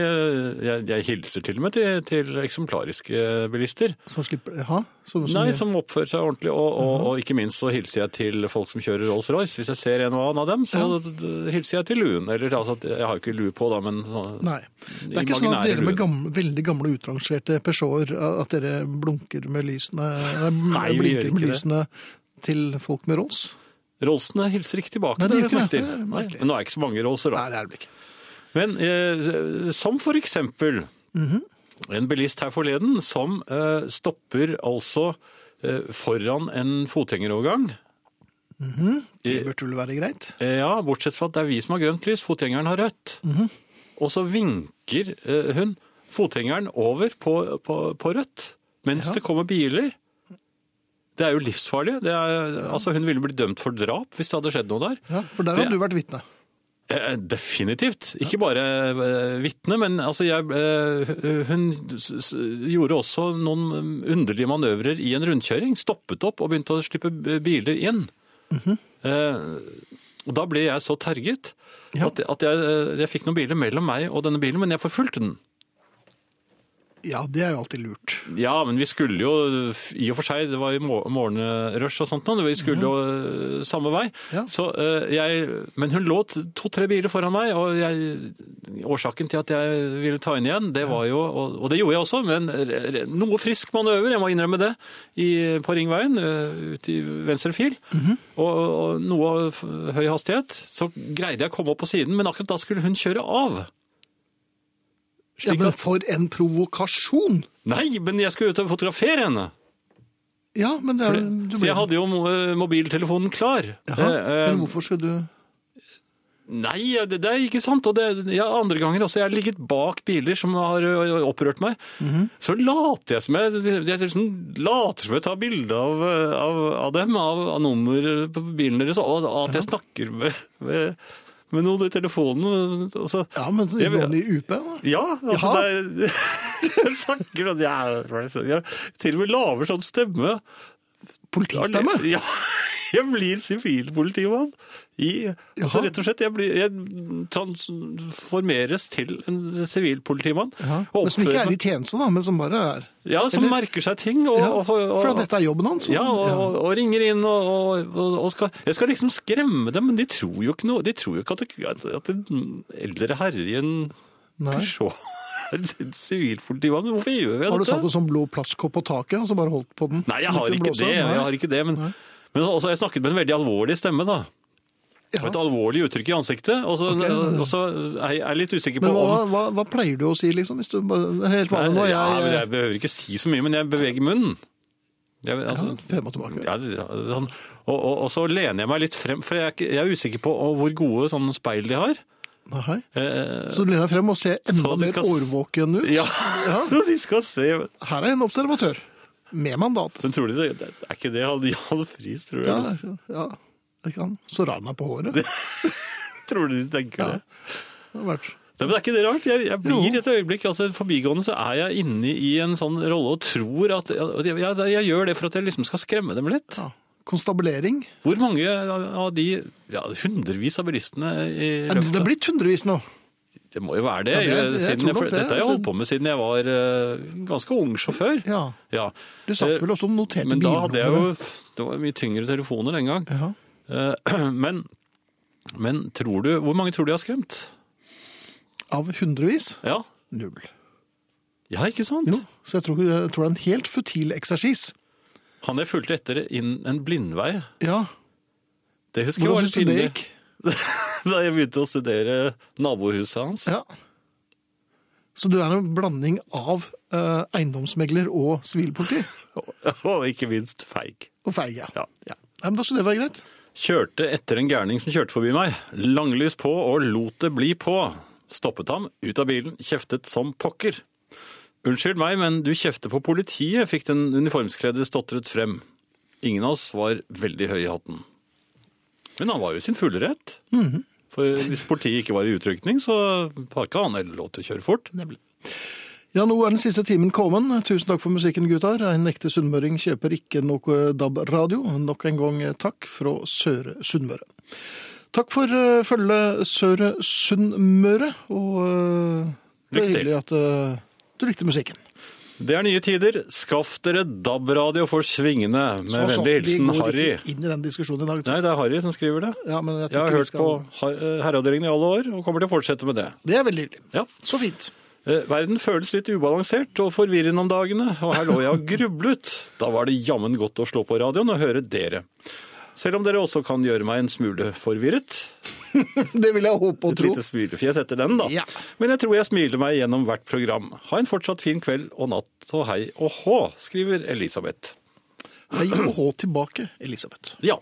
Jeg, jeg hilser til og med til, til eksemplariske bilister. Som slipper Jaha? Som, Mhm. Nei, som oppfører seg ordentlig. Og, og, og ikke minst så hilser jeg til folk som kjører Rolls-Royce. Hvis jeg ser en og annen av dem, så d- d- hilser jeg til luen. Eller altså, at jeg har jo ikke lue på, da, men sånn- Nei. Det er ikke sånn at Imaginære dere med luen. gamle, veldig gamle utrangerte Peugeoter at dere blunker med lysene Nei, blinker vi gjør med ikke det. lysene til folk med Rolls? Rolsene hilser ikke tilbake. Nei, det de har jeg gjør lagt ikke det. til. Det er Nei, merkelig. Men nå er det ikke så mange Rolls-er, da. Nei, det er det vel ikke. Men eh, som for eksempel Mhm. en bilist her forleden som eh, stopper altså eh, foran en fotgjengerovergang. Det burde vel være greit? Eh, ja, bortsett fra at det er vi som har grønt lys, fotgjengeren har rødt. Og så vinker eh, hun fotgjengeren over på, på, på rødt mens det kommer biler. Det er jo livsfarlig. Det er, altså, hun ville blitt dømt for drap hvis det hadde skjedd noe der. Ja, For der Det- har du vært vitne. Eh, Definitivt. Ikke bare eh, vitne, men altså jeg, eh, hun s- s- gjorde også noen underlige manøvrer i en rundkjøring. Stoppet opp og begynte å slippe b- biler inn. Eh, og da ble jeg så terget Ja. at, at jeg, eh, jeg fikk noen biler mellom meg og denne bilen, men jeg forfulgte den. Ja, det er jo alltid lurt. Ja, men vi skulle jo i og for seg, det var jo mor- morgenrush og sånt, nå, vi skulle jo øh, samme vei. Ja. Så, øh, jeg, men hun lå t- to-tre biler foran meg, og jeg, årsaken til at jeg ville ta inn igjen, det var jo, og, og det gjorde jeg også, men re- re- noe frisk manøver, jeg må innrømme det, i, på ringveien, øh, ute i venstre fil, Mhm. og, og noe f- høy hastighet, så greide jeg å komme opp på siden, men akkurat da skulle hun kjøre av. Ja, Slik men at, for en provokasjon! nei, men jeg skulle ut og fotografere henne. Ja, men det er, du Så jeg hadde jo mo- eh, mobiltelefonen klar. Jaha, Eh, eh, Men hvorfor skulle du Nei, det, det er ikke sant. Og det, ja, andre ganger også. Jeg har ligget bak biler som har ø, ø, opprørt meg. Mhm. Så later jeg som jeg, jeg liksom later som jeg tar bilde av, ø, av, av dem, av, av nummer på bilen deres, og at jeg snakker med, med, med noen i telefonen. og så- Ja, men Jeg- noen i UP, da? ja, altså Jaha. det er, jeg snakker sånn jeg, er- jeg til og med lager sånn stemme. Politistemme? Ja, jeg blir sivilpolitimann. I, altså Jaha. rett og slett, jeg, blir, jeg transformeres til en sivilpolitimann. Ja. og Men som ikke oppfører er meg- i tjeneste, da, men som bare er Ja, som eller- merker seg ting. Og, ja, og, og, For at dette er jobben hans. ja, og, og, og ringer inn og, og, og skal, Jeg skal liksom skremme dem, men de tror jo ikke noe. De tror jo ikke at, det, at en eldre herre i en Nei. Peugeot er en sivilpolitimann. Hvorfor gjør jeg dette? Har du satt en sånn blå plastkopp på taket og så bare holdt på den? Nei, jeg Sånn at har den ikke blåser? det. Nei. Jeg har ikke det men, Nei. men også, jeg snakket med en veldig alvorlig stemme, da. Ja. Et alvorlig uttrykk i ansiktet. Og så, Ok. og så er jeg- jeg er litt usikker på Men hva, om hva, hva pleier du å si, liksom? Hvis du bare, det er helt vanlig nå. Nei, Jeg, ja, men jeg behøver ikke si så mye, men jeg beveger munnen. Jeg, altså, Ja, frem og tilbake. Ja, det- ja, sånn. og, og, og så lener jeg meg litt frem, for jeg er, ikke, jeg er usikker på å- hvor gode sånne speil de har. Nei. Eh, Så du lener deg frem og ser enda Så de mer skal s- årvåken ut? ja, så de skal se. Her er en observatør. Med mandat. Men tror du det, det er ikke det han Jan Friis, tror du? Ja, ja. Er ikke han så rar han er på håret. Det Tror du de tenker har det? vært Nei, men det er ikke det rart? Jeg, jeg blir Jo. i et øyeblikk, altså forbigående så er jeg inne i en sånn rolle og tror at at jeg, jeg, jeg gjør det for at jeg liksom skal skremme dem litt. ja. Konstabulering. Hvor mange av de ja, hundrevis av bilistene i Er Det det løftet? er blitt hundrevis nå. Det må jo være det. Ja, det er- jeg- jeg siden tror jeg, nok for, det. Dette har jeg holdt på med siden jeg var eh, ganske ung sjåfør. Ja. Ja. Du satt Eh, vel også og noterte Men da hadde jeg jo bilnummeret. Det var mye tyngre telefoner den gang. Ja. Eh, Men, men tror du Hvor mange tror du jeg har skremt? Av hundrevis? Ja, Null. ja ikke sant? Jo, så jeg tror, jeg tror det er en helt futil eksersis. Han jeg fulgte etter inn en blindvei Ja. Det husker jeg Hvordan var syns litt du det pinlig. gikk? Da jeg begynte å studere nabohuset hans. Ja. Så du er en blanding av eh, eiendomsmegler og sivilpoliti? Og ikke minst feig. Og feig, ja. Ja. Nei, men da skulle det være greit. Kjørte etter en gærning som kjørte forbi meg. Langlys på og lot det bli på. Stoppet ham, ut av bilen, kjeftet som pokker. Unnskyld meg, men du kjefter på politiet, fikk den uniformskledde stotret frem. Ingen av oss var veldig høye i hatten. Men han var jo i sin fulle rett. For hvis politiet ikke var i utrykning, så har ikke han heller lov til å kjøre fort. Ja, nå er den siste timen kommet. Tusen takk for musikken, gutter. En ekte sunnmøring kjøper ikke noe DAB-radio. Nok en gang eh, takk fra Søre Sunnmøre. Takk for uh, følget Søre Sunnmøre, og eh, det er Lykke til. hyggelig at eh, du likte musikken. Det er nye tider. Skaff dere DAB-radio for svingene. Med Så, så, vennlig hilsen Vi går Harry. ikke inn i den diskusjonen i dag. Nei, det er Harry som skriver det. Ja, men jeg, Jeg tror har ikke vi hørt skal... på Har- eh, Herreavdelingen i alle år, og kommer til å fortsette med det. Det er veldig hyggelig. Ja. Så fint. Eh, Verden føles litt ubalansert og forvirrende om dagene, og her lå jeg og grublet. Da var det jammen godt å slå på radioen og høre dere. Selv om dere også kan gjøre meg en smule forvirret. Det vil jeg håpe og Et tro. lite smilefjes etter den, da. Ja. Men jeg tror jeg smiler meg gjennom hvert program. Ha en fortsatt fin kveld og natt og hei og hå, skriver Elisabeth. Hei og hå tilbake, Elisabeth. Ja.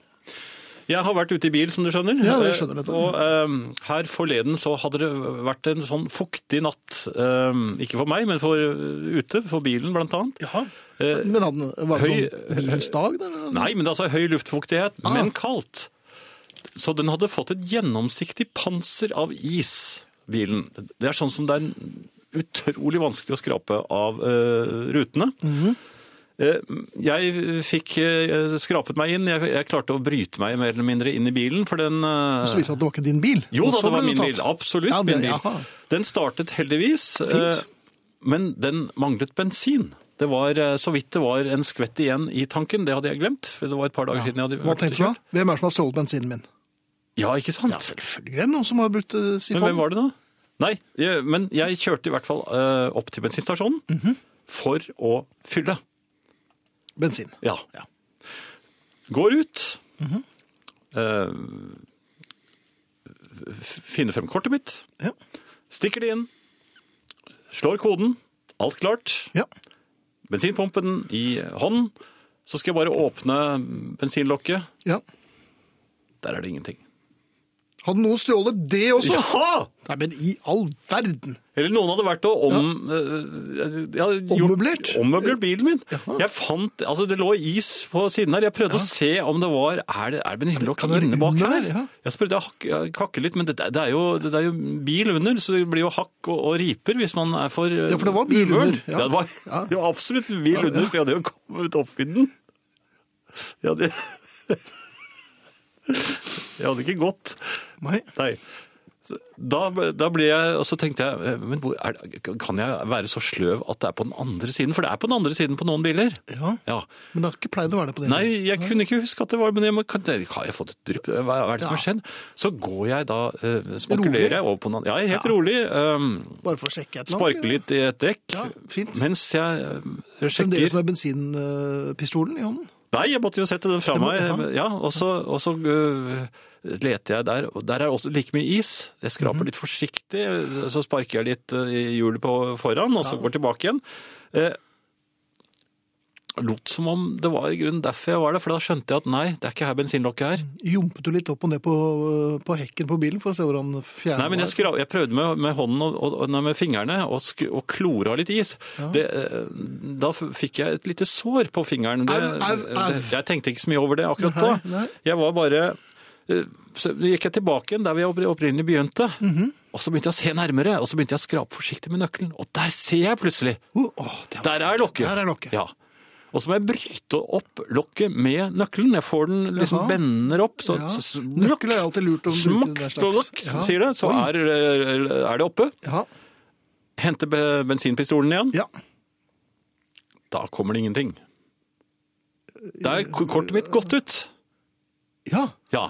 Jeg har vært ute i bil, som du skjønner. Ja, det skjønner jeg. Eh, Og eh, her forleden så hadde det vært en sånn fuktig natt. Eh, ikke for meg, men for eh, ute, for bilen blant annet. Jaha. Eh, Men hadde, var det høy- sånn bilens dag? eller? Nei, men det er altså høy luftfuktighet, Ah. men kaldt. Så den hadde fått et gjennomsiktig panser av is, bilen. Det er sånn som det er utrolig vanskelig å skrape av eh, rutene. Mhm. Eh, jeg fikk eh, skrapet meg inn, jeg, jeg klarte å bryte meg mer eller mindre inn i bilen, for den... eh, Så viste det seg at det var ikke din bil? jo Og da, så det ble var min tatt. bil. Absolutt Ja, det- min bil. jaha. Den startet heldigvis, eh, men den manglet bensin. Det var eh, så vidt det var en skvett igjen i tanken, det hadde jeg glemt. For det var et par dager siden jeg hadde Hva vært tenkte du da? Hvem er det som har stjålet bensinen min? Ja, ikke sant? Selvfølgelig er det noen som har brukt uh, men hvem var det da? Nei, jeg, men jeg kjørte i hvert fall eh, opp til bensinstasjonen Mhm. for å fylle. bensin. Ja. Ja. Mhm. Går ut. eh, f- finner frem kortet mitt. Ja. Stikker det inn. Slår koden. Alt klart. ja. Bensinpumpen i hånden. Så skal jeg bare åpne bensinlokket. ja. Der er det ingenting. Hadde noen stjålet det også? Ja! Nei, men i all verden! Eller noen hadde vært og om... eh, jeg hadde gjort- Ommøblert? Ommøblert bilen min. Jaha. Jeg fant... Altså, det lå is på siden her. Jeg prøvde å se om det var... Er det, er det bensinlokk Kan det være inne bak under her? der, ja? Jeg prøvde å hakke, kakke litt, men det, det, er jo, det er jo bil under, så det blir jo hakk og, og riper hvis man er for... Ja, for det var bil under, Ja. ja. det var Ja. det var absolutt bil under, for jeg hadde jo kommet opp i den. Ja, det... Jeg hadde ikke gått. Nei. Nei. Så Da, da ble jeg, og så tenkte jeg, eh, men hvor er, det- kan jeg være så sløv at det er på den andre siden? For det er på den andre siden på noen biler. Ja. Ja. Men det har ikke pleid å være det på din. Nei, jeg kunne ikke huske at det var, men jeg må, kan, har jeg fått et drypp? Hva er det som har Ja. skjedd? Så går jeg da, eh, spankulerer jeg over på den andre. Ja, jeg er helt rolig. Um, Bare for å sjekke et eller annet. sparker litt i et dekk. Ja, fint. Mens jeg eh, Fremdeles sjekker med bensinpistolen i hånden. Nei, jeg måtte jo sette den fra Du meg. måtte ha Ja, og så, og så øh, leter jeg der, og der er også like mye is. Jeg skraper litt forsiktig, så sparker jeg litt øh, i hjulet på foran, og så går tilbake igjen. Eh, lot som om det var i grunnen derfor jeg var der, for da skjønte jeg at nei, det er ikke her bensinlokket er. Jumpet du litt opp og ned på, på hekken på bilen for å se hvordan fjernen Nei, men jeg, skra, jeg prøvde med, med hånden og, og, og nei, med fingrene å sk- å klore av litt is. Det, eh, da f- fikk jeg et lite sår på fingeren. Det, Au, au, au. Det, jeg tenkte ikke så mye over det akkurat da. Nei, nei. Jeg var bare eh, Så gikk jeg tilbake igjen der vi oppri- opprinnelig begynte. Mhm. Og så begynte jeg å se nærmere, og så begynte jeg å skrape forsiktig med nøkkelen. Og der ser jeg plutselig! Oh, åh, det er- Der er lokket! Der er lokket. Ja. Og så må jeg bryte opp lokket med nøkkelen. Jeg får den liksom Jaha. bender opp. Så, Ja. så, så, Nøkkel er alltid lurt å bruke Smakk den der og slags. lokk, Ja. sier det. Så Oi. er, er det oppe. ja. Henter be- bensinpistolen igjen. ja. Da kommer det ingenting. Eh, Da er k- kortet mitt gått ut. Ja. Ja.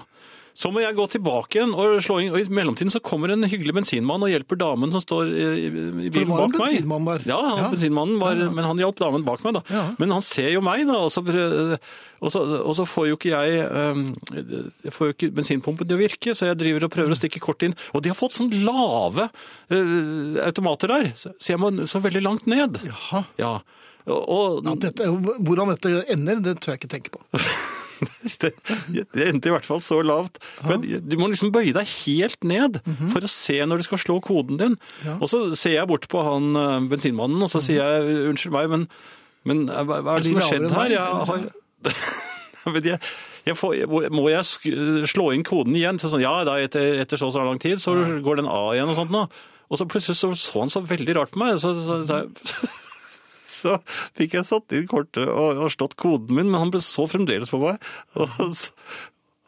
Så må jeg gå tilbake igjen og slå inn. Og i mellomtiden så kommer en hyggelig bensinmann og hjelper damen som står eh, i, i For det bilen var en bak meg. bensinmann der. Ja, han, Ja. bensinmannen var, men han hjalp damen bak meg da. Ja. Men han ser jo meg da, og så, prø- og så, og så får jo ikke jeg, øhm, jeg får jo ikke bensinpumpen til å virke, så jeg driver og prøver å stikke kort inn. Og de har fått sånn lave øh, automater der, så så jeg må så veldig langt ned. Jaha. Ja. Og, og At dette, hvordan dette ender, det tør jeg ikke tenke på. det, det endte i hvert fall så lavt. For at du må liksom bøye deg helt ned for å se når du skal slå koden din. Og så ser jeg bort på han eh, bensinmannen, og så sier jeg unnskyld meg, men, men eh, hva, hva er det de som har lavere skjedd enn her? deg, Jeg har... Men jeg, jeg får, jeg- må jeg sk- slå inn koden igjen? Så sånn, ja, da etter, etter så og så lang tid, så går den A igjen og sånt nå. Og så plutselig så, så han så veldig rart på meg. Så, så, så, så fikk jeg satt inn kortet og, og slått koden min, men han ble så fremdeles på meg. Og, så-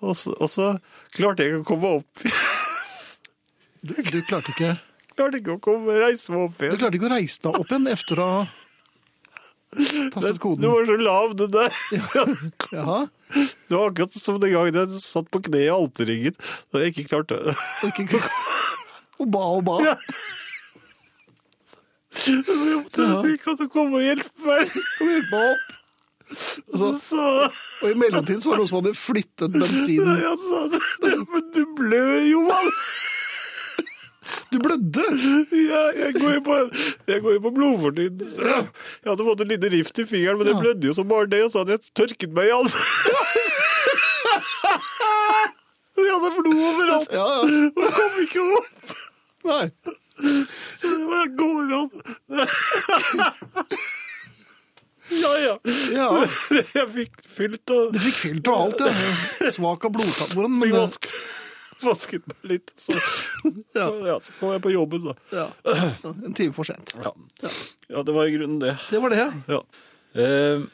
og, så- og så klarte jeg ikke å komme opp igjen. Du, du, klarte ikke, Klarte ikke å komme, reise meg opp du igjen. klarte ikke å reise deg opp igjen etter å ha tastet Du koden. var så lav, du der. Jaha. Det var akkurat som den gangen jeg satt på kne i alterringen da jeg ikke klarte det. Og ikke- Og ba og ba. Ja. Jeg måtte si, kan du komme og hjelpe meg? Og hjelpe meg opp. Så sa Og i mellomtiden så var det noen som hadde flyttet bensinen. jeg sa, men du blør jo, mann. Du blødde! Jeg, jeg går jo på, jeg går jo på blodfortynnelse. Jeg hadde fått en liten rift i fingeren, men det Ja. blødde jo som bare det. Og så hadde jeg tørket meg i ansiktet. Jeg hadde blod overalt Ja, ja. og kom ikke opp. Nei. Så det var går an. Ja, ja. Ja. Jeg fikk fylt og Du fikk fylt og alt, ja. Svak av blodtapp. Hvordan? Men, fikk det- vask, vasket meg litt. Så, ja. Ja. så kom jeg på jobben, ja. da. En time for sent. Ja. ja, det var i grunnen det. Det var det. ja. Ja. Eh,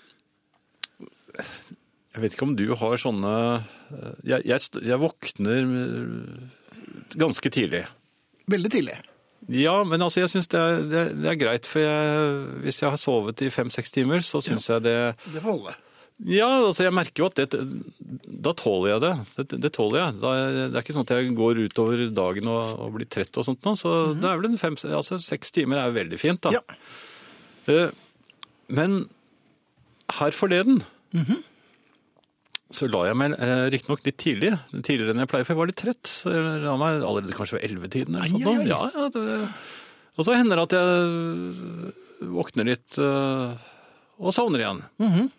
jeg vet ikke om du har sånne eh, Jeg, jeg, st- jeg våkner eh, ganske tidlig. Veldig tidlig. Ja, men altså, jeg syns det, er- det, er- det er greit, for jeg, hvis jeg har sovet i fem-seks timer, så syns jeg det Det får holde. Ja, altså, jeg merker jo at det, da tåler jeg det. Det, det tåler jeg. Da, det er ikke sånn at jeg går utover dagen og, og blir trett og sånt nå, så det er vel en fem, altså, seks timer er veldig fint, da. Ja. Eh, Men her forleden Mhm. så la jeg meg eh, riktignok litt tidlig, tidligere enn jeg pleier, for jeg var litt trett. Så jeg la meg allerede kanskje ved 11-tiden eller Ai, sånt. ai, nå. ai. Ja, ja, det, og så hender det at jeg våkner litt eh, og sovner igjen. Mhm.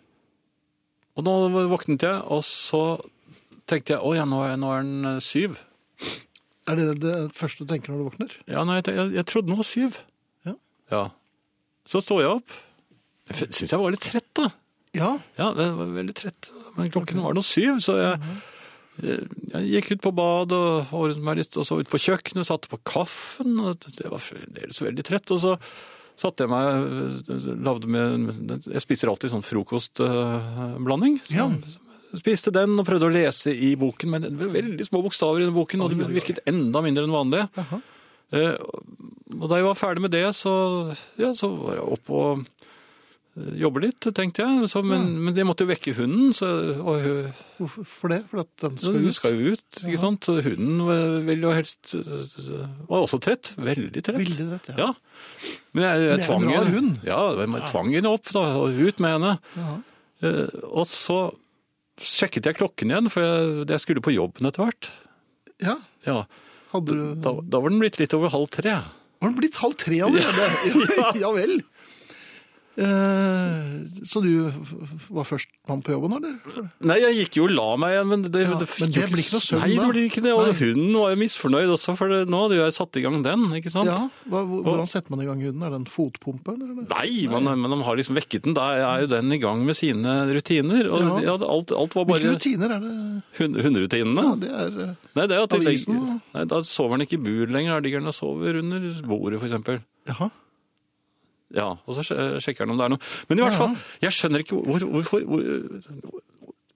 Og nå våknet jeg, og så tenkte jeg, å ja, nå er, nå er den eh, syv. Er det det første du tenker når du våkner? Ja, nei, jeg, jeg, jeg trodde den var syv. Ja. Ja. Så står jeg opp. Jeg syns jeg var litt trett, da. Ja. Ja, jeg var veldig trett. Men klokken var nå syv, så jeg, jeg gikk ut på bad og ordnet meg litt, og så ut på kjøkkenet, satte på kaffen, og det var fremdeles veldig trett. Og så satte jeg meg, lagde med Jeg spiser alltid sånn frokostblanding. Så, Ja. spiste den og prøvde å lese i boken, men det var veldig små bokstaver i den boken, og det virket enda mindre enn vanlig. Eh, og da jeg var ferdig med det, så, ja, så var jeg opp og eh, jobbe litt, tenkte jeg. Så, men, men jeg måtte jo vekke hunden, så, og hun- Hvorfor det? Fordi at den skal hun ut? skal jo ut, ikke sant? Så Hunden var- vil jo helst Var også trett. Veldig trett. Veldig trett, ja. ja. Men jeg, jeg det er en tvang rar henne- hund. Ja, jeg tvang henne opp da, og ut med henne. Eh, og så sjekket jeg klokken igjen, for jeg, jeg skulle på jobben etter hvert. Ja, Ja, hadde du... da, da var den blitt litt over halv tre. Var den blitt halv tre allerede? Ja, ja vel. Eh, så du f- var først mann på jobben, eller? Nei, jeg gikk jo og la meg igjen, men det, Ja, det, men det blir ikke noe søvn Nei, det da. blir ikke det. Og Nei. hunden var jo misfornøyd også, for det, nå hadde jo jeg satt i gang den, ikke sant? Ja, hva, hvor- Hvordan setter man i gang huden? Er det en fotpumpe? eller? eller? Nei, men, men de har liksom vekket den. Da er jo den i gang med sine rutiner. Og Ja. ja. alt, alt var Hvilke bare rutiner er det? hun- hunderutinene. Ja, det er... eh, Nei, det er at de Avisen, legger, nei, da sover den ikke i bur lenger. Da ligger den og sover under bordet, for eksempel. Jaha. Ja, og så sj- sjekker han om det er noe. Men i hvert fall, jeg skjønner ikke hvor, hvorfor hvor,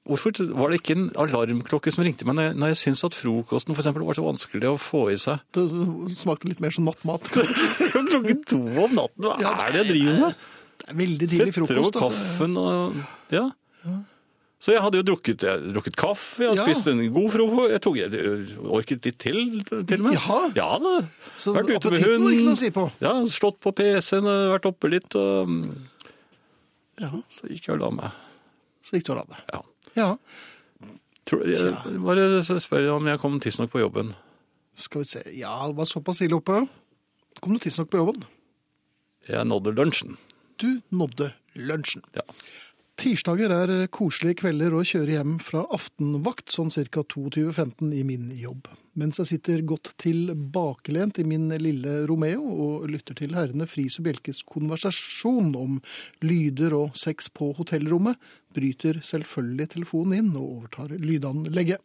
Hvorfor var det ikke en alarmklokke som ringte meg når jeg, når jeg syntes at frokosten for eksempel, var så vanskelig å få i seg? Det smakte litt mer som nattmat. Klokken to om natten, hva er det jeg driver med? Det er veldig tidlig Setter over frokost. altså. kaffen og Ja. Så jeg hadde jo drukket, jeg hadde drukket kaffe, jeg hadde Ja. spist en god frokost. Jeg, tok, jeg orket litt til, til og med. Jaha. Ja da. Så vært ute med appetitten var ikke noe å hunden. si på. Ja, slått på PC-en, og vært oppe litt. Og, mm, Ja, så gikk jeg og la meg. så gikk du og la deg. Ja. Ja, Tror, jeg, bare spør om jeg kom tidsnok på jobben. skal vi se. Ja, det var såpass ille oppe. Kom du tidsnok på jobben? Jeg nådde lunsjen. Du nådde lunsjen. Ja. Tirsdager er koselige kvelder å kjøre hjem fra aftenvakt, sånn ca. 22.15 i min jobb. Mens jeg sitter godt tilbakelent i min lille Romeo og lytter til herrene Friis og Bjelkes konversasjon om lyder og sex på hotellrommet, bryter selvfølgelig telefonen inn og overtar lydanlegget.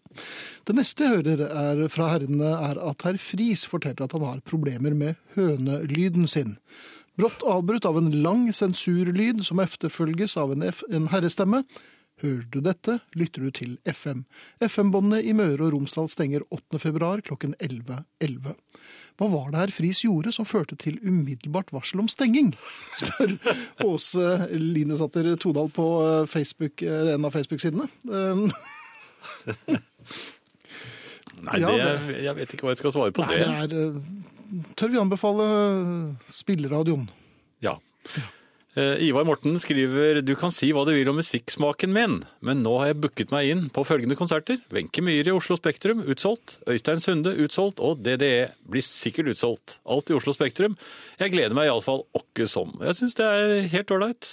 Det neste jeg hører er fra herrene, er at herr Friis forteller at han har problemer med hønelyden sin. Brått avbrutt av en lang sensurlyd som efterfølges av en, F en herrestemme. Hører du dette, lytter du til FM. FM-båndet i Møre og Romsdal stenger 8. februar klokken 11.11. Hva var det herr Friis gjorde som førte til umiddelbart varsel om stenging? spør Åse Linesatter Todal på eh, Facebook, eh, en av Facebook-sidene. Eh, Nei, Ja, det, jeg vet ikke hva jeg skal svare på Nei, det. det er eh, Tør vi anbefale eh, spilleradioen? Ja. Eh, Ivar Morten skriver Du kan si hva du vil om musikksmaken min, men nå har jeg booket meg inn på følgende konserter. Wenche Myhre i Oslo Spektrum, utsolgt. Øystein Sunde, utsolgt. Og DDE blir sikkert utsolgt. Alt i Oslo Spektrum. Jeg gleder meg iallfall åkke som. Jeg syns det er helt ålreit.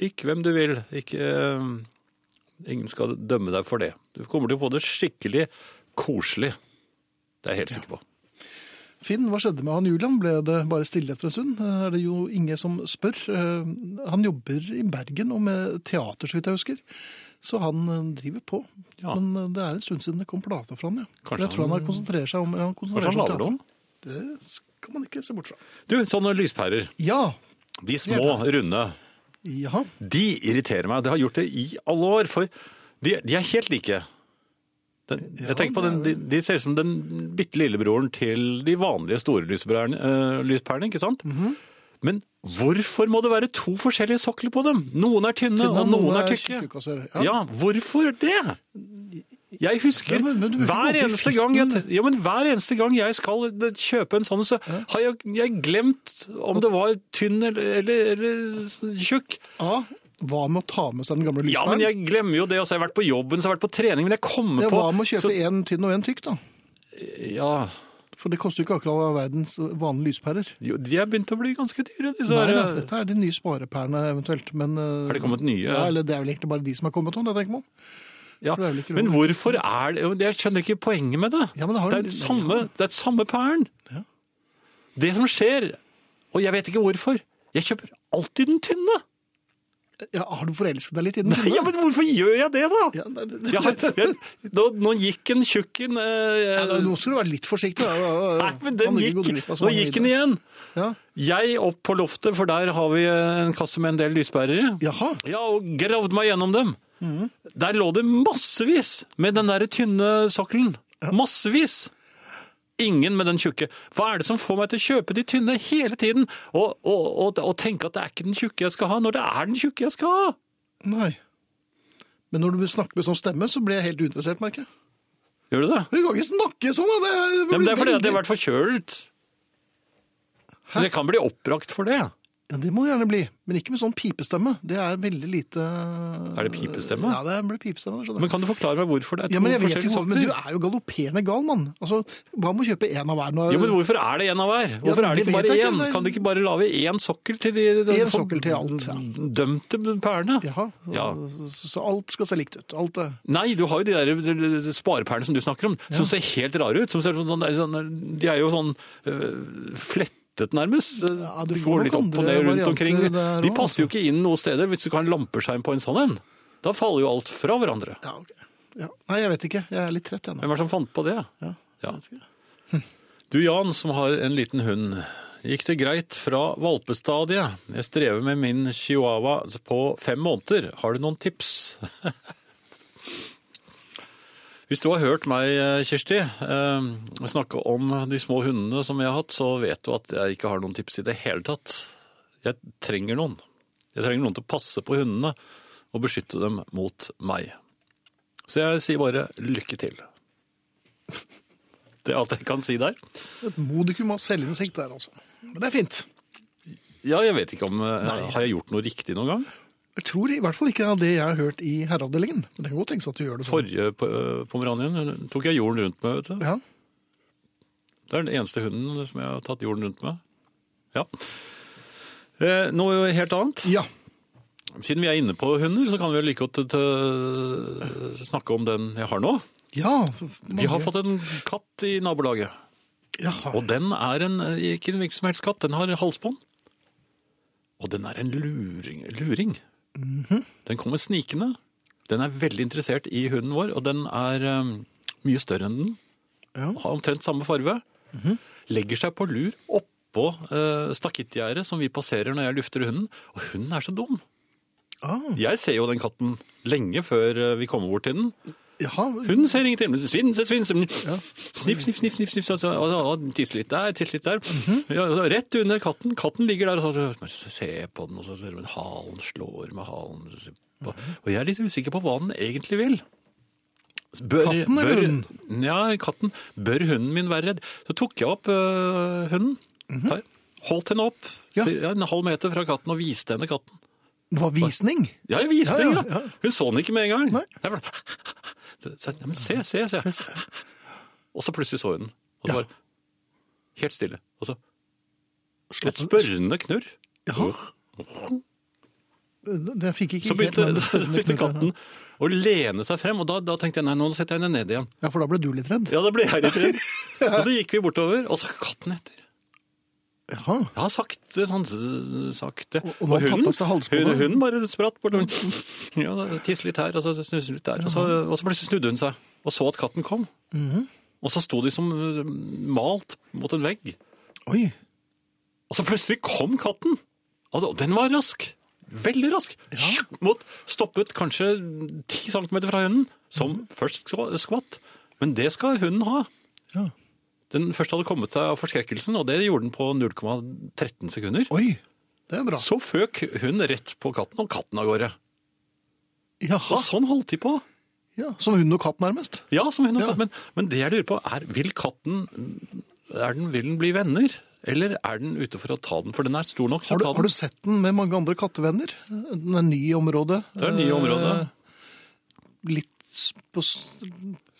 Lik hvem du vil. Ikke, eh, ingen skal dømme deg for det. Du kommer til å få det skikkelig koselig. Det er jeg helt sikker på. Finn, hva skjedde med han Julian? Ble det bare stille etter en stund? Er det jo Inge som spør. Eh, Han jobber i Bergen og med teater, så vidt jeg husker. Så han eh, driver på. Ja. Men eh, det er en stund siden det kom plate fra han, ja. Kanskje jeg tror han, han- har konsentrerer seg om han konsentrerer Kanskje han seg om lager det om? Det skal man ikke se bort fra. Du, sånne lyspærer. Ja. De små, runde. Jaha. De irriterer meg. Det har gjort det i alle år, for de, de er helt like. Den, jeg tenker på den, de, de ser ut som den bitte lillebroren til de vanlige store lyspærene, eh, lyspærene ikke sant? Mhm. Men hvorfor må det være to forskjellige sokler på dem? Noen er tynne, Tynne, og noen, er tykke. tjukke, altså. ja. Ja. hvorfor det? Jeg husker Ja, men- men du bruker hver ikke opp i eneste fisten. gang jeg, ja, men hver eneste gang jeg skal kjøpe en sånn, så har jeg, jeg glemt om det var tynn eller, eller, eller tjukk. A. Hva med å ta med seg den gamle Ja, lyspæren? men jeg glemmer jo det. Altså, jeg har vært på jobben, så jeg har vært på trening, men jeg kommer Ja, på Hva med å kjøpe så, én tynn og én tykk, da? Ja, For det koster jo ikke akkurat verdens vanlige lyspærer. jo, de er begynt å bli ganske dyre, disse Nei, her. da, dette er de nye sparepærene eventuelt, men eh, Har det kommet nye? Ja, eller det er vel egentlig bare de som har kommet nå, det tenker man. Ja. for det er vel ikke Men lov. hvorfor er det jo, Jeg skjønner ikke poenget med det. Ja, men det har- er den samme, det er den samme pæren. Ja. Det som skjer, og jeg vet ikke hvorfor Jeg kjøper alltid den tynne. Ja, har du forelsket deg litt i den? Nei, ja, men hvorfor gjør jeg det, da? Ja, det, det, Jeg har, jeg, nå, nå gikk en tjukken eh, Ja, da- nå skal du være litt forsiktig. Da. da- Nei, men den Man ikke gikk. gå glipp av så Nå mange gikk den videoer. igjen. Ja. Jeg opp på loftet, for der har vi en kasse med en del lyspærer i. Jaha, Ja, og gravd meg gjennom dem. Mhm. Der lå det massevis med den der tynne sokkelen. Massevis! Ingen med den tjukke. Hva er det som får meg til å kjøpe de tynne hele tiden? Og, og, og, og tenke at det er ikke den tjukke jeg skal ha, når det er den tjukke jeg skal ha? Nei. Men når du snakker med sånn stemme, så blir jeg helt uinteressert, merker jeg. Gjør du det? Du kan ikke snakke sånn, da! Det er, Ja, men det er fordi at det har vært forkjølt. Men det kan bli oppbrakt for det. Ja, det må det gjerne bli. Men ikke med sånn pipestemme. Det er veldig lite Er det pipestemme? Ja, det blir pipestemme. skjønner du. Men kan du forklare meg hvorfor det er to Ja, men jeg vet forskjellige jo, sorter? men du er jo galopperende gal, mann. Altså, hva med å kjøpe én av hver? Når... Jo, men hvorfor er det én av hver? Hvorfor Ja, er det det ikke vet bare jeg ikke, én? det- Kan de ikke bare lage én sokkel til de, de Én sokkel til alt, ja. dømte pærene? Jaha. Ja. Så, så alt skal se likt ut. Alt er... Nei, du har jo de der sparepærene som du snakker om, som ser helt rare ut. Som ser sånn, sånn- de er jo sånn øh, flettet nærmest. Ja, du de får går nok litt opp og andre ned rundt varianter omkring. der De også, passer jo ikke inn noe steder hvis du ikke har en lampeskjerm på en sånn en. Da faller jo alt fra hverandre. Ja, ok. Ja. Nei, jeg vet ikke. Jeg er litt trett ennå. Hvem var det som fant på det? Ja. Ja. Du Jan, som har en liten hund. Gikk det greit fra valpestadiet? Jeg strever med min chihuahua på fem måneder. Har du noen tips? Hvis du har hørt meg, Kirsti, eh, snakke om de små hundene som jeg har hatt, så vet du at jeg ikke har noen tips i det hele tatt. Jeg trenger noen. Jeg trenger noen til å passe på hundene og beskytte dem mot meg. Så jeg sier bare lykke til. Det er alt jeg kan si der. Et modikum av selvinnsikt der, altså. Men det er fint. Ja, jeg vet ikke om eh, Har jeg gjort noe riktig noen gang? Jeg tror i hvert fall ikke av det jeg har hørt i herreavdelingen. Men det kan godt tenkes at du gjør det sånn. Forrige på- eh, pomeranien hun- tok jeg jorden rundt med. vet du. Ja. Det er den eneste hunden som jeg har tatt jorden rundt med. Ja. Eh, Noe helt annet. ja. Siden vi er inne på hunder, så kan vi jo like godt eh, t- snakke om den jeg har nå. Ja. Vi har fått en katt i nabolaget. Jaha. Og den er en, ikke en hvilken som helst katt, den har halsbånd. Og den er en luring. luring. Mhm. Den kommer snikende. Den er veldig interessert i hunden vår, og den er um, mye større enn den. Ja. Mhm. Har omtrent samme farve. Legger seg på lur oppå uh, stakittgjerdet som vi passerer når jeg lufter hunden. Og hunden er så dum. Ah, Jeg ser jo den katten lenge før eh, vi kommer bort til den. jaha. Hun ser ingenting, men svinse, svinse. Sniff, sniff, sniff, sniff, sniff. så- så- og- og- og Tisse litt der, tisse litt der. Mhm. ja, så rett under katten. Katten ligger der og så, så se på den, og så ser hun halen slår med halen. Så, se på. Mhm. Og jeg er litt usikker på hva den egentlig vil. Bør, Katten eller bør- hunden? Ja, katten. Bør hunden min være redd? Så tok jeg opp øh, hunden. Her. Holdt henne opp Mhm. Ja. ja. en halv meter fra katten og viste henne katten. Det var visning. Ja, jeg viste den, Ja, ja. ja, Hun så den ikke med en gang. Nei. Jeg bare, så, ja, men se, se, se. Og så plutselig så hun den. Og så Ja. var helt stille. Og så et Slapp- spørrende knurr. Jaha. Det fikk ikke Så helt begynte, den så spennende begynte knuten. katten å lene seg frem, og da, da tenkte jeg nei, nå setter jeg henne ned igjen. Ja, for da ble du litt redd. Ja, da ble jeg litt redd. Og så gikk vi bortover, og så katten etter. Jaha. Ja, sakte, sånn øh, sakte. Og- og nå tatt av seg halsbåndet. hun, hun bare spratt bort. og Hun ja, da tisset litt her, og så snuset hun litt der. Og så, og så plutselig snudde hun seg og så at katten kom. Mhm. Og så sto de som øh, malt mot en vegg. Oi. Og så plutselig kom katten! Altså, den var rask. Veldig rask. Sjuk, Mot, stoppet kanskje ti centimeter fra hunden, som Mhm. først skva- skvatt. Men det skal hunden ha. Ja. Den først hadde kommet seg av forskrekkelsen, og det gjorde den på 0,13 sekunder. Oi. Det er bra. Så føk hun rett på katten, og katten av gårde. Jaha. Og sånn holdt de på. Ja, som hund og katt nærmest. Ja, som hun og Ja. katten. Men, men det jeg lurer på er, vil katten er den, vil den bli venner? Eller er den ute for å ta den? For den er stor nok til Har du, å ta har du den. sett den med mange andre kattevenner? Den er ny i området. Det er nye områder. Eh, Litt s- på, s-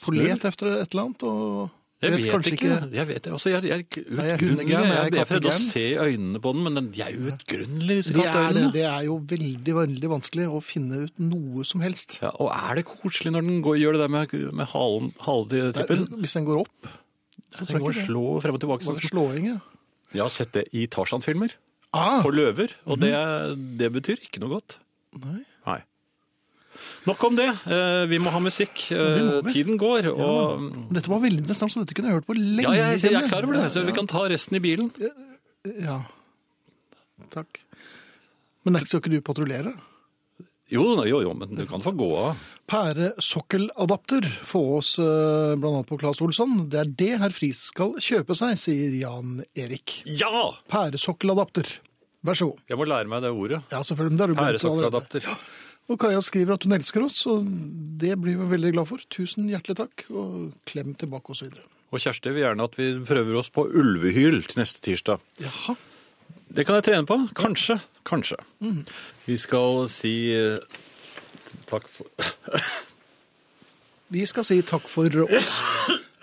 på let etter et eller annet, og Jeg vet, kanskje ikke. Jeg vet, altså, jeg, jeg, Nei, jeg er utgrunnelig- hundegæren, jeg er jeg, jeg prøvde å kattegæren. se i øynene på den, men den, de er jo utgrunnelige, disse Det er, det, katteøynene. det er jo veldig, veldig vanskelig å finne ut noe som helst. Ja, og er det koselig når den går, gjør det der med, med halen, haletippen? Hvis den går opp, så Den går og det. slår frem og tilbake. Bare Sånn. slåing, ja. Jeg har sett det i Tarzan-filmer, Ah, på løver, og det, det betyr ikke noe godt. nei. Nei. Nok om det. Eh, Vi må ha musikk. det må Eh, vi. Tiden går, og Dette var veldig interessant, så dette kunne jeg hørt på lenge. ja, jeg, jeg er kjenner klar over det, så vi kan ta resten i bilen. Ja. Takk. Men skal ikke du patruljere? Jo, jo, jo, men du kan få gå av. Pæresokkeladapter få oss eh, blant annet på Claes Olsson. Det er det herr Friis skal kjøpe seg, sier Jan Erik. Ja! Pæresokkeladapter. Vær så god. Jeg må lære meg det ordet. Ja, selvfølgelig. men det har du glemt allerede. Pæresokkeladapter. Og Kaja skriver at hun elsker oss, og det blir vi veldig glad for. Tusen hjertelig takk, og klem tilbake osv. Og Kjersti vil gjerne at vi prøver oss på ulvehyl til neste tirsdag. Jaha. Det kan jeg trene på. Kanskje. Kanskje. Vi skal si eh, takk for Vi skal si takk for oss.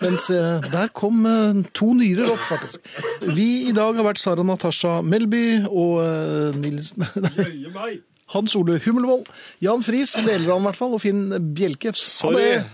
Mens eh, der kom eh, to nyrer opp, faktisk. Vi i dag har vært Sara Natasha Melby og eh, Nils nei, Øye meg! Hans Ole Hummelvold. Jan Friis, deler av han i hvert fall, og Finn Bjelke. Ha Sorry. det.